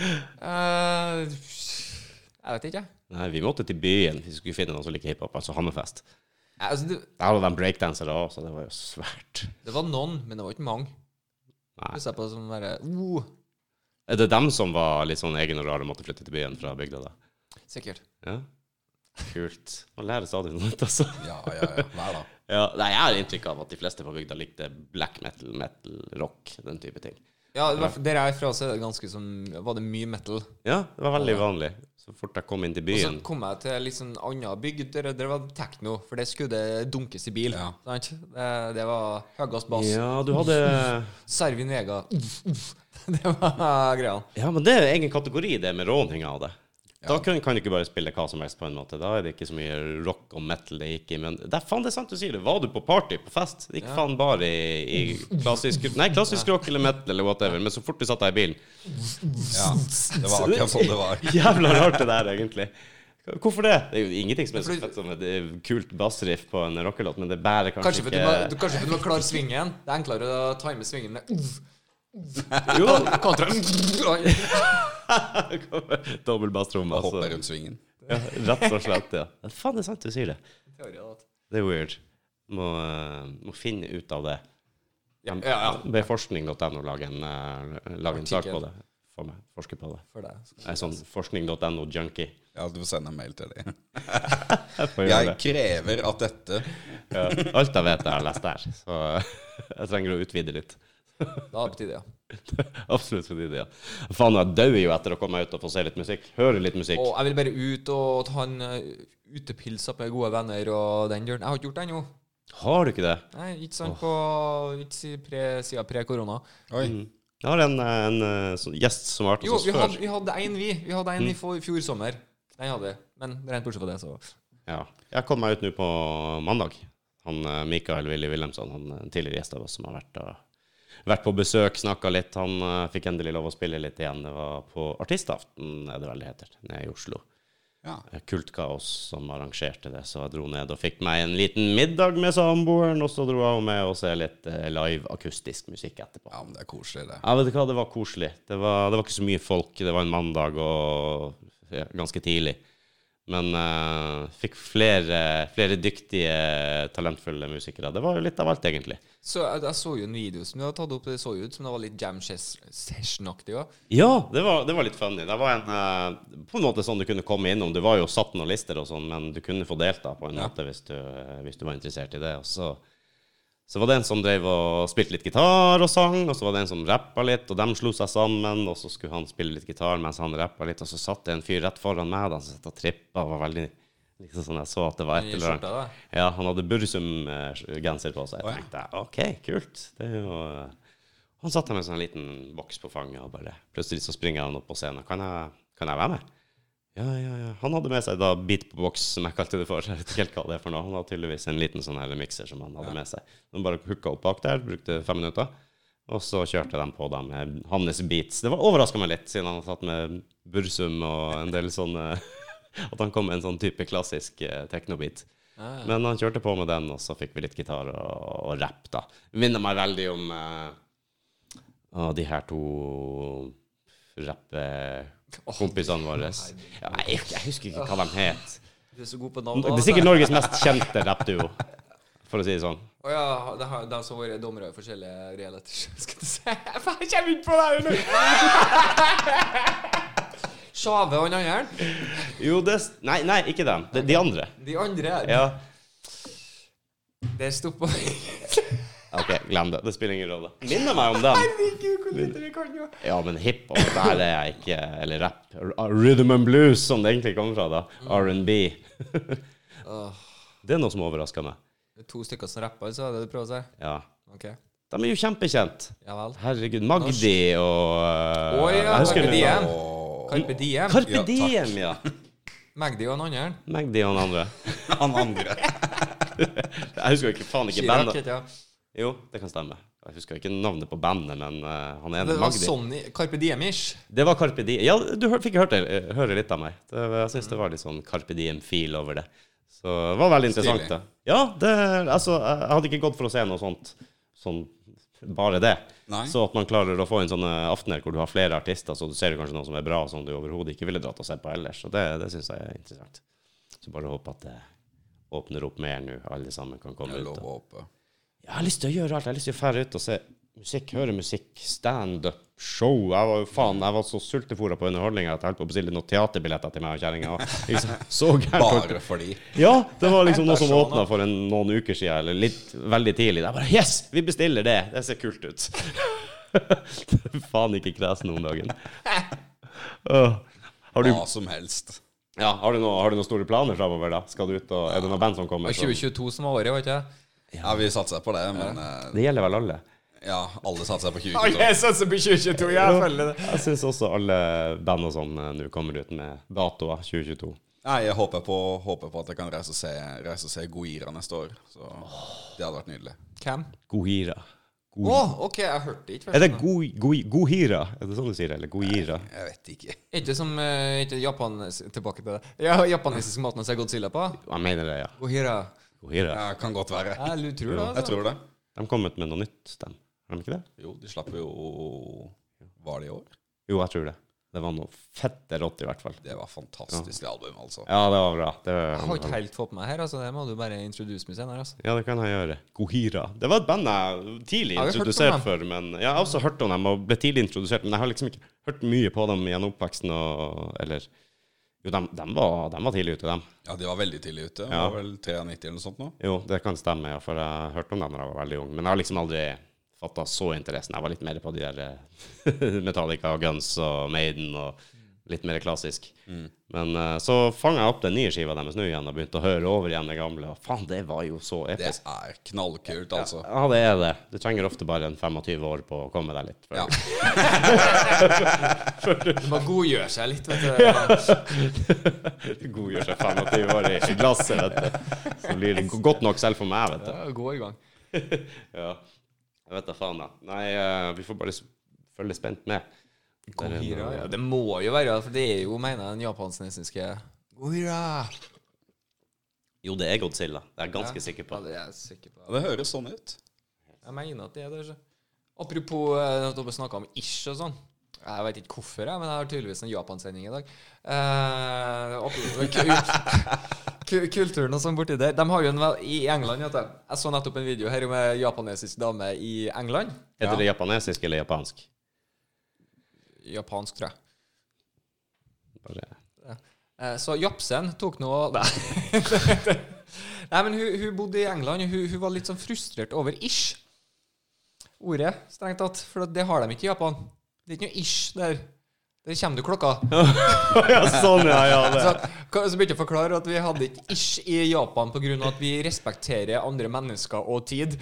B: Eh, jeg vet ikke, jeg.
A: Nei, vi måtte til byen hvis vi skulle finne noen som liker hiphop, altså Hammerfest.
B: Altså, det,
A: Der hadde de breakdansere òg, så det var jo svært.
B: det var noen, men det var ikke mange.
A: Nei.
B: Du ser på det som bare oh,
A: Er det dem som var litt sånn egen og rare og måtte flytte til byen fra bygda, da?
B: Sikkert.
A: Ja. Kult. Man lærer stadig noe nytt, altså.
C: Ja, ja, ja. Hver dag.
A: Ja, nei, jeg har inntrykk av at de fleste på bygda likte black metal, metal, rock, den type ting.
B: Ja, i hvert fall der jeg er fra, så er det ganske som Var det mye metal?
A: Ja, det var veldig vanlig. Så fort jeg kom inn til
B: Og så
A: byen
B: kom jeg til litt sånn anna bygd, der det var tekno, for det skulle det dunkes i bil.
C: Ja.
B: Sant? Det, det var høyest bass.
A: Ja, du hadde
B: Servin Vega. det var greia.
A: Ja, men det er egen kategori, det med råninga av det. Da kan, kan du ikke bare spille hva som helst, på en måte. Da er det ikke så mye rock og metal det gikk i. Men det er faen det er sant du sier det. Var du på party, på fest? Det gikk faen bare i, i klassisk Nei, klassisk rock eller metal eller whatever. Men så fort du satt deg i bilen
C: Ja, det var akkurat sånn det var.
A: Jævla rart det der, egentlig. Hvorfor det? Det er jo ingenting som er så fett som et eh, kult bassriff på en rockelåt, men det bærer kanskje,
B: Kanskje fordi du, må- du, kanskje for du må klare svingen. Det er enklere å time svingen med
A: ikke Jo,
B: kontra
A: Dobbel basstromme, altså.
C: Hoppe rundt svingen.
A: Ja, rett og slett, ja. Men faen, det er sant du sier det. Det er weird. Må, eh, må finne ut av det.
B: Ja, ja, ja.
A: Be forskning.no lage en, eh, lage en sak
B: Artikkel.
A: på det. For meg. Forske på det.
B: For deg.
A: Jeg er sånn forskning.no-junkie.
C: Ja, du får sende en mail til dem.
A: Jeg får gjøre
C: Jeg
A: det.
C: krever at dette
A: Ja. Alt jeg vet, jeg har lest der. Så jeg trenger å utvide litt.
B: Da er det på tide, ja.
A: Absolutt fordi det, ja. Faen, jeg dør jo etter å komme ut og få se litt musikk. Høre litt musikk.
B: Og jeg vil bare ut og ta en eh, utepils opp med gode venner og den døren. Jeg har ikke gjort det ennå.
A: Har du ikke det?
B: Nei, Ikke sant på Ikke si pre- siden pre-korona.
C: Oi.
A: Jeg har en, eh, en eh, sånn gjest som har vært
B: Jo,
A: hos
B: vi
A: oss
B: hadde,
A: før.
B: vi hadde en, vi. Vi hadde en i for- i fjor sommer. Den hadde vi. Men rent bortsett fra det, så
A: Ja. Jeg kom meg ut nå på mandag. Han eh, Mikael Willy Wilhelmsen, han eh, en tidligere gjest av oss som har vært, og, vært på besøk, snakka litt. Han eh, fikk endelig lov å spille litt igjen. Det var på Artistaften, er det vel det heter, nede i Oslo. Eh,
C: Ja.
A: Kultkaos som arrangerte det, så jeg dro ned og fikk meg en liten middag med samboeren, og så dro jeg med og se litt eh, live akustisk musikk etterpå.
C: ja, men det er koselig, det.
A: Ja, vet du hva, det var koselig. Det var, det var ikke så mye folk. Det var en mandag og ja, ganske tidlig. Men eh, fikk flere, flere dyktige, talentfulle musikere. Det var jo litt av alt, egentlig.
B: Så jeg, jeg så jo en video som du hadde tatt opp. Det så jo ut som det var litt jam ses- session-aktig òg.
A: Ja, det var, det var litt funny. Det var en, eh, på en måte sånn du kunne komme innom. Du var jo satt noen lister og sånn, men du kunne få delta på en måte hvis du, eh, hvis du var interessert i det. Og så, så var det en som drev og spilte litt gitar og sang, og så var det en som rappa litt, og dem slo seg sammen, og så skulle han spille litt gitar mens han rappa litt, og så satt det en fyr rett foran meg, og han satt og trippa og var veldig liksom sånn Jeg så at det var et
B: I
A: eller annet.
B: skjorta, da.
A: Ja, han hadde Bursum-genser på seg. Jeg tenkte OK, kult. Det er jo eh, Han satt der med en sånn liten boks på fanget, og bare plutselig så springer han opp på scenen. Kan jeg, kan jeg være med? Ja, ja, ja. Han hadde med seg da Beat på boks, som jeg kalte det for. Jeg vet ikke helt hva det er for noe. Han hadde tydeligvis en liten sånn her mikser som han hadde med seg. De bare hooka opp bak der, brukte fem minutter. Og så kjørte de på da med hans beats. Det overraska meg litt, siden han hadde tatt med Bursum og en del sånne At han kom med en sånn type klassisk eh, techno-beat. Men han kjørte på med den, og så fikk vi litt gitar og, og rapp, da. Minner meg veldig om eh, å, de her to rappekompisene våre. Ja, jeg, jeg husker ikke hva de het.
B: Du er så god på navn. altså.
A: Det er sikkert Norges mest kjente rappduo, for å si det sånn.
B: Å ja, det har, de som har vært dommere i forskjellige reality show, skal du si. Jeg bare kommer ikke på det her nå! Sjave og den andre?
A: Jo, det s- Nei, nei ikke dem. De, de andre.
B: De andre her.
A: Ja.
B: Det stopper
A: OK, glem det. Det spiller ingen rolle. Minner meg om dem.
B: Herregud, hvor lite vi kan jo!
A: Ja, men hiphop, der er jeg ikke Eller rap. R- Rhythm and blues, som det egentlig kommer fra, da. R&B.
B: Åh,
A: Det er noe som overrasker meg.
B: det er to stykker som rapper, altså? Det du prøver å si?
A: Ja.
B: Ok,
A: De er jo kjempekjent.
B: ja vel.
A: Herregud. Magdi og uh,
B: Å ja,
A: jeg husker
B: Carpe
A: det-
B: Diem. Carpe Diem.
A: Carpe Diem, ja.
B: Magdi og den andre.
A: Magdi og han andre.
C: Han andre.
A: Jeg husker jo ikke faen ikke
B: Chirac,
A: bandet.
B: heter jeg.
A: Jo, det kan stemme. Jeg husker jo ikke navnet på bandet, men eh, han ene
B: Det var
A: Magdi.
B: sånn i Carpe Diem-ish.
A: Det var Carpe Diem. Ja, du hør, fikk hørt det, eh, høre litt av meg. Det, jeg syns det var litt sånn Carpe Diem-feel over det. Så det var veldig interessant.
C: Stilig.
A: da. Ja, det, altså, jeg hadde ikke gått for å se noe sånt. Sånn, bare det.
C: Nei.
A: Så at man klarer å få inn sånne aftener hvor du har flere artister, så du ser jo kanskje noe som er bra, som du overhodet ikke ville dratt og sett på ellers. Og det, det syns jeg er interessant. Så bare håper at det åpner opp mer nå, alle sammen kan komme
C: Jeg
A: ut. og-
C: lover å håpe.
A: jeg har lyst til å gjøre alt. Jeg har lyst til å fære ut og se musikk, høre musikk, standup, show. Jeg var jo faen, jeg var så sultefòra på underholdninga at jeg holdt på å bestille noen teaterbilletter til meg og kjerringa. Liksom, så gærent.
C: Bare fordi.
A: Ja, det var liksom noe som åpna for en, noen uker siden, eller litt veldig tidlig. Jeg bare Yes, vi bestiller det! Det ser kult ut. faen ikke kresen om dagen. Åh. Har du,
C: Hva som helst.
A: ja, har du, noe, har du noen store planer framover, da? Skal du ut og Er det noen band som kommer?
B: Det var
A: som-
B: 2022 som var året, var ikke det?
C: Ja, vi satser på det, men eh,
A: Det gjelder vel alle?
C: ja, alle satser på 2022.
B: Alle satser på 2022, jeg følger det.
A: Jeg syns også alle band og sånn eh, nå kommer ut med datoer 2022.
C: Nei, jeg håper på, håper på at jeg kan reise og se, reise og se Goira neste år. Så det hadde vært nydelig.
B: Hvem?
A: Gohira.
B: Å, ok, jeg hørte ikke.
A: Er det go, go, Gohira? Er det sånn du sier det? Eller Gohira?
C: Jeg vet ikke.
B: Er ikke som eh, ikke Japan Tilbake til det. Ja, japanesisk maten jeg ser Godzilla på.
A: Jeg mener det, ja.
B: Gohira.
A: Gohira.
C: Ja, kan godt være.
B: Jeg lu- tror det.
C: Jeg
B: Altså.
C: tror det.
A: De kom ut med noe nytt, de. Har de ikke det?
C: Jo, de slapp jo Var det i år?
A: Jo, jeg tror det. Det var noe fette rått, i hvert fall.
C: Det var fantastisk album, altså.
A: Ja, det var bra. Det,
B: Jeg har ikke helt fått på meg her, altså. Det må du bare introduce meg senere. altså.
A: ja, det kan jeg gjøre. Gohira. Det var et band jeg tidlig
B: Jeg har jo hørt om
A: introdusert
B: dem.
A: for. Men jeg har også hørt om dem og ble tidlig introdusert, men jeg har liksom ikke hørt mye på dem gjennom oppveksten og Eller Jo, de, var, dem var tidlig ute, dem.
C: Ja, de var veldig tidlig ute. Det
A: Ja.
C: var vel 93 eller noe sånt nå.
A: Jo, det kan stemme, ja, for jeg hørte om den da jeg var veldig ung. Men jeg har liksom aldri fatta så interessen. Jeg var litt mer på de der eh, Metallica, Guns og Maiden og litt mer klassisk. Men eh, så fanga jeg opp den nye skiva deres nå igjen og begynte å høre over igjen det gamle. Og faen, det var jo så
C: Det
A: episk.
C: er knallkult, altså.
A: Ja, det er det. Du trenger ofte bare en 25 år på å komme deg litt. før-
C: Ja.
B: Du må godgjøre seg litt, vet du.
A: Det godgjør seg 25 år i glasset, vet du. Så blir det godt nok selv for meg, vet du.
B: Ja, Gå i gang.
A: Ja. Jeg vet da faen, da. Nei, eh, vi får bare s- følge spent med.
B: Gohira, ja. Det må jo være, for det er jo, mener jeg, den japansk-nesiske Gohira.
A: Jo, det er Godzilla. Det er jeg ganske sikker
B: Ja,
A: på.
B: det er jeg sikker på.
C: Ja, Det høres sånn ut.
B: Jeg mener at det er det. så. Apropos eh, at dere snakka om ish og sånn. Jeg Jeg vet ikke hvorfor, jeg, men jeg har tydeligvis en Japan-sending i dag. Eh, opp- kul- ku- Kulturen og sånn borti der. De har jo en vel, I England vet du. Jeg så nettopp en video her om ei japanesisk dame i England.
A: Heter det japanesisk eller japansk?
B: Japansk, tror jeg.
A: Bare
B: Eh, Så Japsen tok nå Nei. Nei, men hun, hun bodde i England, og hun, hun var litt sånn frustrert over ish. Ordet, strengt tatt. For det har de ikke i Japan. Det er ikke noe ish der. Der kommer du klokka.
A: ja, sånn, ja, ja.
B: Så, så begynte jeg å forklare at vi hadde ikke ish i Japan pga. at vi respekterer andre mennesker og tid.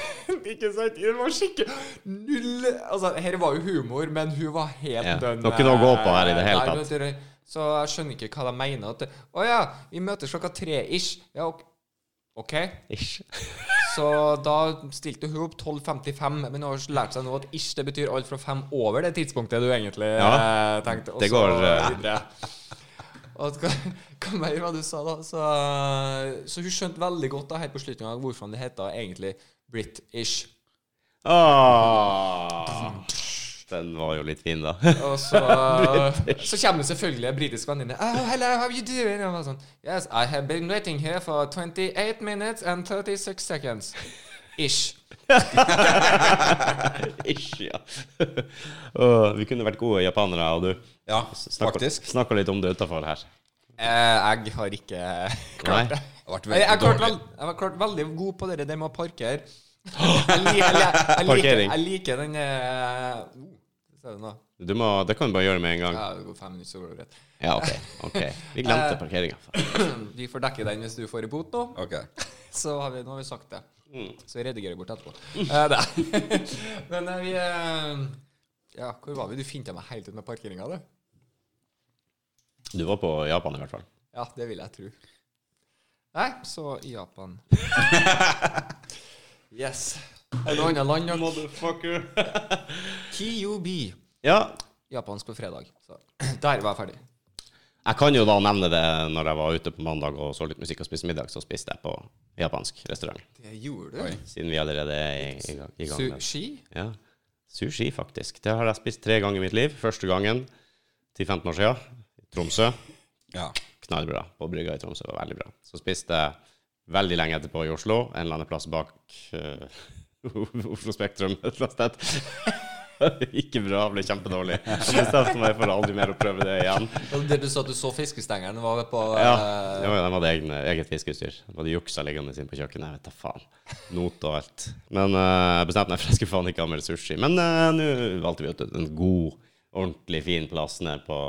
B: ikke sant? Det var skikkelig null Altså, her var jo humor, men hun var helt
A: Ja,
B: dønn.
A: det var ikke noe å gå på her i det hele
B: Nei,
A: tatt.
B: vet dere, Så jeg skjønner ikke hva de mener. At det, å ja, vi møtes klokka tre ish. Ja, ok. ok.
A: Ish.
B: Så da stilte hun opp 12.55, men hun har lært seg nå at ish det betyr alt fra fem over det tidspunktet du egentlig
A: Ja,
B: eh, tenkte. og
A: det
B: så
A: går, eh,
B: videre. Og hva, hva mer var det du sa da? Så, så hun skjønte veldig godt da helt på slutten av hvorfor det heter egentlig Brit-ish.
A: Ah, den var jo litt fin, da.
B: Og så, så kommer det selvfølgelig en britisk venninne. Oh, hello, how are you doing? Og sånn, yes, I have been waiting here for 28 minutes and 36 seconds. Ish.
A: Ish, ja. Åh, vi kunne vært gode japanere, og du.
C: Ja,
A: Snakka-
C: faktisk.
A: Snakka litt om det utafor her.
B: Eh, jeg har ikke
A: Nei.
C: Det har vært
B: Jeg, jeg,
C: veldig
B: klarte
C: dårlig.
B: vel, jeg var klart veldig god på det der med å parkere. Jeg, li, jeg, li- jeg, liker,
A: Parkering.
B: jeg liker den eh, oh, Ser du nå?
A: Du må, det kan du bare gjøre med en gang.
B: Ja, det går fem minutter, så går det greit.
A: Ja, OK. ok. Vi glemte parkeringa.
B: Vi får dekke den hvis du får i bot nå.
C: Ok.
B: Så har vi, nå har vi sagt det.
C: Mm.
B: Så vi redigerer bort etterpå. Eh, det. Men eh, vi eh, Ja, hvor var vi? Du finte meg helt ut med parkeringa, du.
A: Du var på Japan, i hvert fall.
B: Ja, det vil jeg tro. Nei, så Japan. Yes. Er det noe annet land? da?
A: Motherfucker.
B: Kyobi.
A: Ja.
B: japansk på fredag. Så der var jeg ferdig.
A: Jeg kan jo da nevne det når jeg var ute på mandag og så litt musikk og spiste middag, så spiste jeg på japansk restaurant.
B: Det gjorde
C: Oi.
A: Siden vi allerede er i, i, gang- i gang med det.
B: Sushi?
A: Ja. Sushi, faktisk. Det har jeg spist tre ganger i mitt liv. Første gangen 10-15 år siden, i Tromsø.
C: Ja.
A: Knallbra. På brygga i Tromsø var veldig bra. Så spiste jeg veldig lenge etterpå i Oslo, en eller annen plass bak eh, Oslo Spektrum et eller annet sted. Ikke bra, ble kjempedårlig. Jeg bestemte meg for aldri mer å prøve det igjen.
B: Og det du sa at du så fiskestengeren var på
A: Ja,
B: eh,
A: ja de hadde egne, eget fiskeutstyr. De hadde juksa liggende inne på kjøkkenet. Jeg vet da faen. Not og alt. Men eh, jeg bestemte meg for at jeg skulle faen ikke ha mer sushi. Men eh, nå valgte vi ut en god, ordentlig fin plass nede på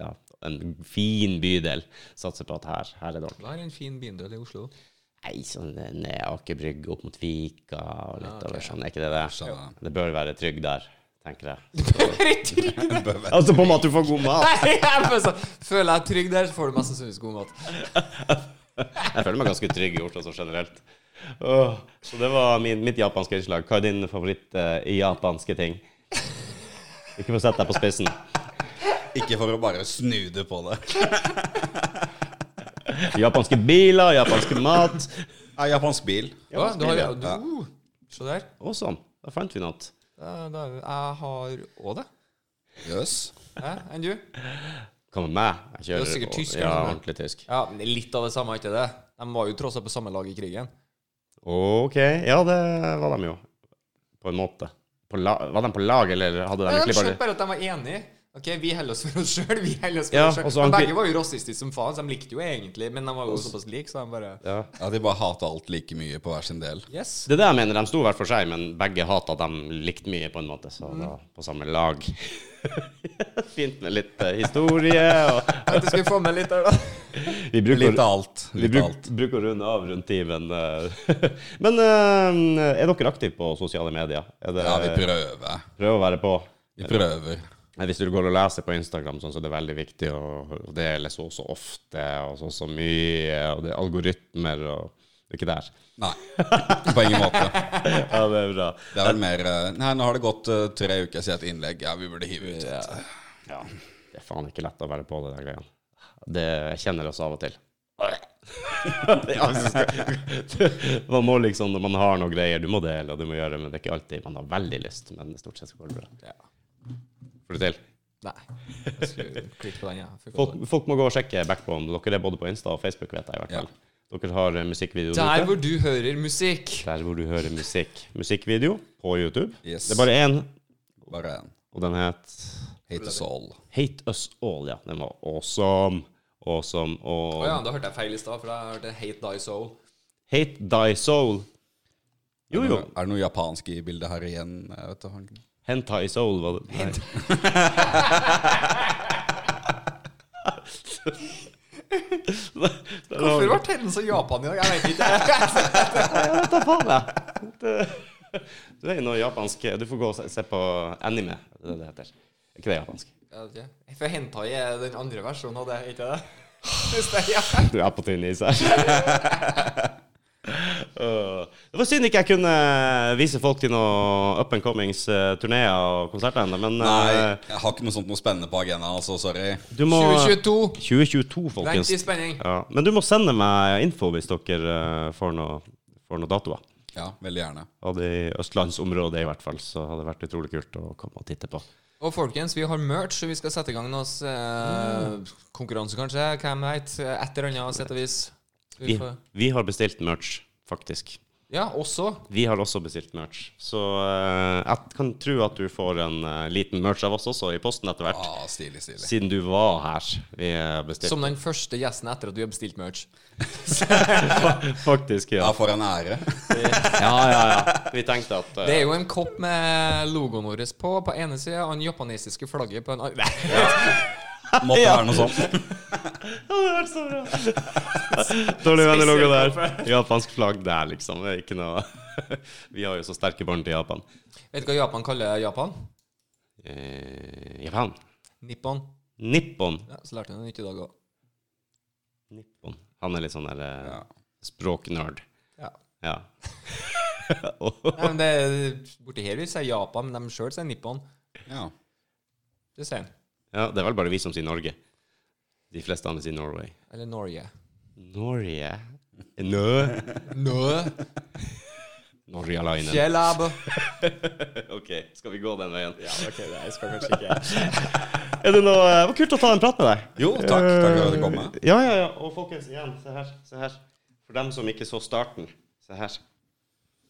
A: ja, en fin bydel. Satser på at her, her er det ordentlig.
B: Det er en fin bindel i Oslo.
A: Nei, sånn ned Aker Brygge opp mot Vika og litt
B: Ja, ok.
A: over sånn. Er ikke det det?
C: Skjønner.
A: Det bør være trygg der, tenker jeg.
B: Trygg!
C: Jeg bør være-
A: Altså på med at du får god mat!
B: Nei, jeg føler så- Føler jeg trygg der, så får du mest sannsynligvis god mat.
A: Jeg føler meg ganske trygg i Oslo sånn generelt. Åh, så det var min, mitt japanske innslag. Hva er din favoritt eh, i japanske ting? Ikke for å sette deg på spissen.
C: Ikke for å bare snu det på det.
A: Japanske biler, japansk mat.
C: Ja, japansk bil.
B: Ja, du har, du,
C: Ja.
B: uh, Se der.
A: Og sånn. Da fant vi noe.
B: Da, da, jeg har òg det.
C: Jøss.
B: Hæ? Enn du?
A: Hva med meg? Jeg
B: Du
A: kjører
B: er sikkert
A: på-
B: tysker,
A: Ja,
B: eller?
A: ordentlig tysk.
B: Ja, men det er Litt av det samme, ikke det? De var jo tross alt på samme lag i krigen.
A: OK. Ja, det var de jo. På en måte. På la, var de på lag, eller hadde de
B: Ja, de
A: egentlig bare
B: skjønte bare at de var enige. Ok, Vi holder oss for oss sjøl. Vi holder oss for
A: Ja,
B: oss
A: og
B: selv.
A: så
B: Men
A: han-
B: Begge var jo rasistiske som faen, så de likte jo egentlig Men de var jo såpass like, så de bare
A: Ja.
C: Ja, de bare hater alt like mye på hver sin del.
B: Yes.
A: Det er det jeg mener. De sto hver for seg, men begge hata dem likt mye, på en måte. Så
C: Mm.
A: da, på samme lag. Fint med litt eh, historie. Og
B: Jeg skal få med litt der, da.
A: vi bruker,
C: Litt av alt.
A: vi
C: Litt av
A: bruk,
C: alt.
A: bruker å runde av rundt ti, men eh, Men eh, er dere aktive på sosiale medier? Er det,
C: Ja, vi prøver.
A: Prøv å være på.
C: Vi prøver.
A: Nei, Hvis du går og leser på Instagram, sånn, så er det veldig viktig å å dele så og så ofte og så og så mye, og det er algoritmer og det er ikke der.
C: Nei. På ingen måte.
A: Ja, det er bra.
C: Det er vel mer eh, Nei, nå har det gått eh, tre uker siden et innlegg. Ja, vi burde hive ut. et.
A: Ja, det er faen ikke lett å være på det der greiene. Det jeg kjenner oss av og til. Ja, så skal- man må liksom, når man har noen greier, du må dele og du må gjøre, men det er ikke alltid man har veldig lyst, men stort sett så går det bra. For Får du til?
B: Nei. Jeg skulle klikke på den, ja. Fy
A: Folk,
B: faen.
A: folk må gå og sjekke Backbone. Dere er både på Insta og Facebook, vet jeg i hvert
C: Ja.
A: fall. Dere har eh, musikkvideo
B: Der
A: ute.
B: hvor du hører musikk.
A: Der hvor du hører musikk. Musikkvideo på YouTube.
C: Yes.
A: Det er bare én,
C: Bare en.
A: og den het
C: Hate us all.
A: Hate Us All. Ja, den var awesome. Awesome. Og
B: Å ja, da hørte jeg feil i stad, for da hørte jeg Hate Die Soul.
A: Hate Thy Soul. Jo, jo.
C: Er det noe japansk i bildet her igjen? Jeg vet da faen.
A: Hentai Soul var det. Nei.
B: Hvorfor ble Terren så Japan i dag? Jeg vet ikke.
A: faen jeg. Det- Du er jo noe japansk Du får gå og se- se på anime. Det er det det heter. Er ikke det japansk?
B: Jeg vet ikke. For hentai er den andre versjonen av det, er ikke det? Hvis det er ja.
A: Du er på tynn is her. Åh. Det var synd ikke jeg kunne vise folk til noen up and comings eh, turnéer og konserter ennå, men
C: Nei,
A: eh,
C: jeg har ikke noe sånt noe spennende på agendaen, altså. Sorry.
A: du må 2022,
B: 2022. Vent i
A: eh, folkens.
B: spenning.
A: Ja. Men du må sende meg info hvis dere eh, får noe- får noen datoer.
C: Ja, veldig gjerne.
A: Og det i østlandsområdet i hvert fall, så hadde det vært utrolig kult å komme og titte på.
B: Og folkens, vi har merch, så vi skal sette i gang noen eh, konkurranse, kanskje. Hvem vet? Et eller annet sett og vis. Vi
A: Vi,
B: får-
A: vi har bestilt merch, faktisk.
B: Ja, også.
A: Vi har også bestilt merch, så eh, jeg kan tro at du får en eh, liten merch av oss også i posten etter hvert.
C: Ah, stilig, stilig.
A: Siden du var her. Vi eh, bestilte
B: Som den første gjesten etter at du har bestilt merch.
A: faktisk, ja.
C: Ja, for en ære.
A: ja, ja, ja. Vi tenkte at eh,
B: Det er jo en kopp med logoen vår på på ene sida og den japanesiske flagget på den andre.
C: Måtte være noe sånt.
A: Ja, det var så bra. Dårlig vennelogo der. Japansk flagg der, liksom. Det er ikke noe Vi har jo så sterke bånd til Japan.
B: Vet du hva Japan kaller Japan?
A: Eh, Japan.
B: Nippon.
A: Nippon.
B: Ja, så lærte jeg noe nytt i dag òg.
A: Nippon. Han er litt sånn der eh,
C: Ja.
A: språknerd.
B: Ja.
A: Ja.
B: Nei, men det Borti her vil si Japan, men de sjøl sier Nippon.
C: Ja.
B: Det sier han.
A: ja, det er vel bare vi som sier Norge. De fleste andre sier Norway.
B: Eller Norge.
A: Norge? Nø?
B: Nø.
A: Norge alene.
B: Fjellab.
A: OK, skal vi gå den veien?
B: Ok, nei, jeg skal kanskje ikke
A: Er det noe Det var kult å ta en prat med deg. Eh,
C: Jo, takk. Takk for at du kom. med.
A: Ja, ja, ja. Og folkens, igjen, se her. Se her. For dem som ikke så starten, se her.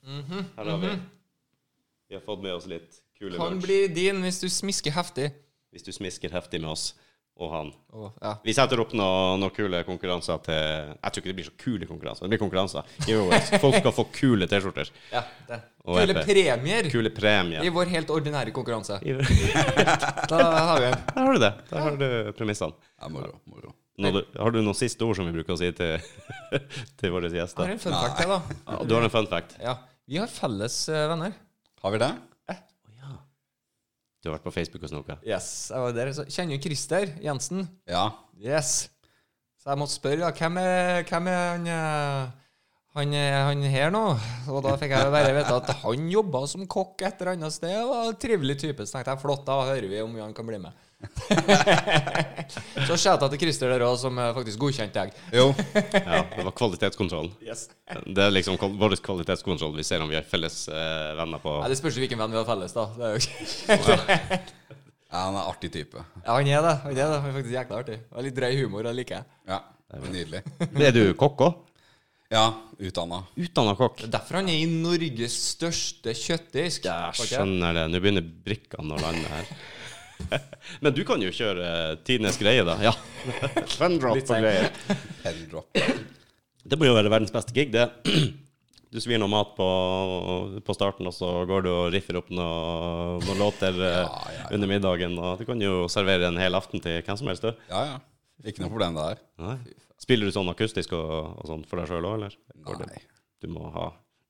A: Her har vi Vi har fått med oss litt kule
B: Kan
A: merch.
B: bli din hvis du smisker heftig.
A: Hvis du smisker heftig med oss og han.
B: Å, ja.
A: Vi setter opp noen noe kule konkurranser til Jeg tror ikke det blir så kule konkurranser. Det blir konkurranser. Giveaways. Folk skal få kule T-skjorter.
B: ja det.
A: Og
B: Kule
A: eple.
B: premier
A: Kule premier.
B: i vår helt ordinære konkurranse.
A: Der
B: Da har vi en.
A: har du det. Der har du premissene.
C: Ja, moro. moro.
A: Nå, du- har du noen siste ord som vi bruker å si til, til våre
B: Har
A: gjester?
B: en fun fact til, da.
A: Ja, Du har en fun fact.
B: Ja. Vi har felles eh, venner.
C: Har vi det?
A: Du har vært på Facebook og snoka.
B: Yes, jeg var der. Så kjenner jo Christer Jensen.
C: Ja.
B: Yes. Så jeg måtte spørre, da, hvem er, hvem er han, eh, han, eh, han her nå? Og da fikk jeg bare vite at han jobba som kokk et eller annet sted. og var en Trivelig type. Så tenkte jeg flott, da hører vi om han kan bli med. så skjæta til Christer der òg, som eh, faktisk godkjente deg.
C: Jo.
A: Ja, det var kvalitetskontrollen. Det er liksom kval- vår kvalitetskontroll. Vi ser om vi er felles eh, venner på
B: Ja, det spørs jo hvilken venn vi har felles, da. Det er jo ikke.
C: Ja, han er artig type.
B: Ja, han er det. Han er det. Han er faktisk jækla artig. Og litt drøy humor, og liker jeg.
C: Ja. Nydelig.
A: Er du kokk òg?
C: Ja, utdanna.
A: Utdanna kokk.
B: Det er derfor han er i Norges største kjøttdisk.
A: Jeg skjønner det. Nå begynner brikkene å lande her. Men du kan jo kjøre eh, tidenes greie, da. Ja. Fundrop og greier.
C: Pendrop.
A: Det må jo være verdens beste gig, det. Du svir noe mat på, på starten, og så går du og riffer opp noe- noen låter eh,
C: Ja, ja, ja.
A: under middagen. Og du kan jo servere en hel aften til hvem som helst, du.
C: Ja, ja. Ikke noe problem der.
A: Nei. Spiller du sånn akustisk og, og sånn for deg sjøl òg, eller? Går det-
C: Nei.
A: Du må ha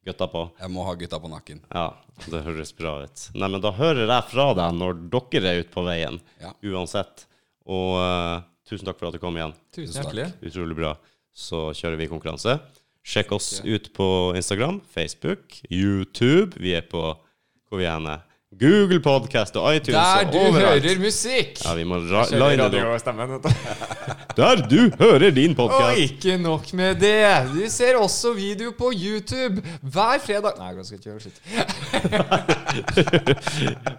A: gutta på.
C: Jeg må ha gutta på nakken.
A: Ja, det høres bra ut. Nei, men da hører jeg fra deg når dere er ute på veien,
C: Ja.
A: uansett. Og eh, tusen takk for at du kom igjen.
B: Tusen hjertelig.
A: Utrolig bra. Så kjører vi konkurranse. Sjekk oss ut på Instagram, Facebook, YouTube. Vi er på hvor vi er Google Podcast og iTunes
B: Der du
A: og overalt.
B: hører musikk!
A: Ja, vi må ra line det opp.
B: radiostemmen. vet du.
A: der du hører din
B: Og
A: podkast.
B: ikke nok med det. Du ser også video på YouTube hver fredag Nei, jeg skal ikke gjøre sitt.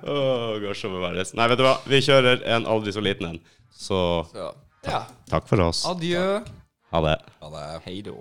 A: Går som verres. Nei, vet du hva, vi kjører en aldri så liten en. Så
B: Så, ja.
A: takk for oss.
B: Adjø.
A: Ha det.
C: Ha det.
B: Hei då.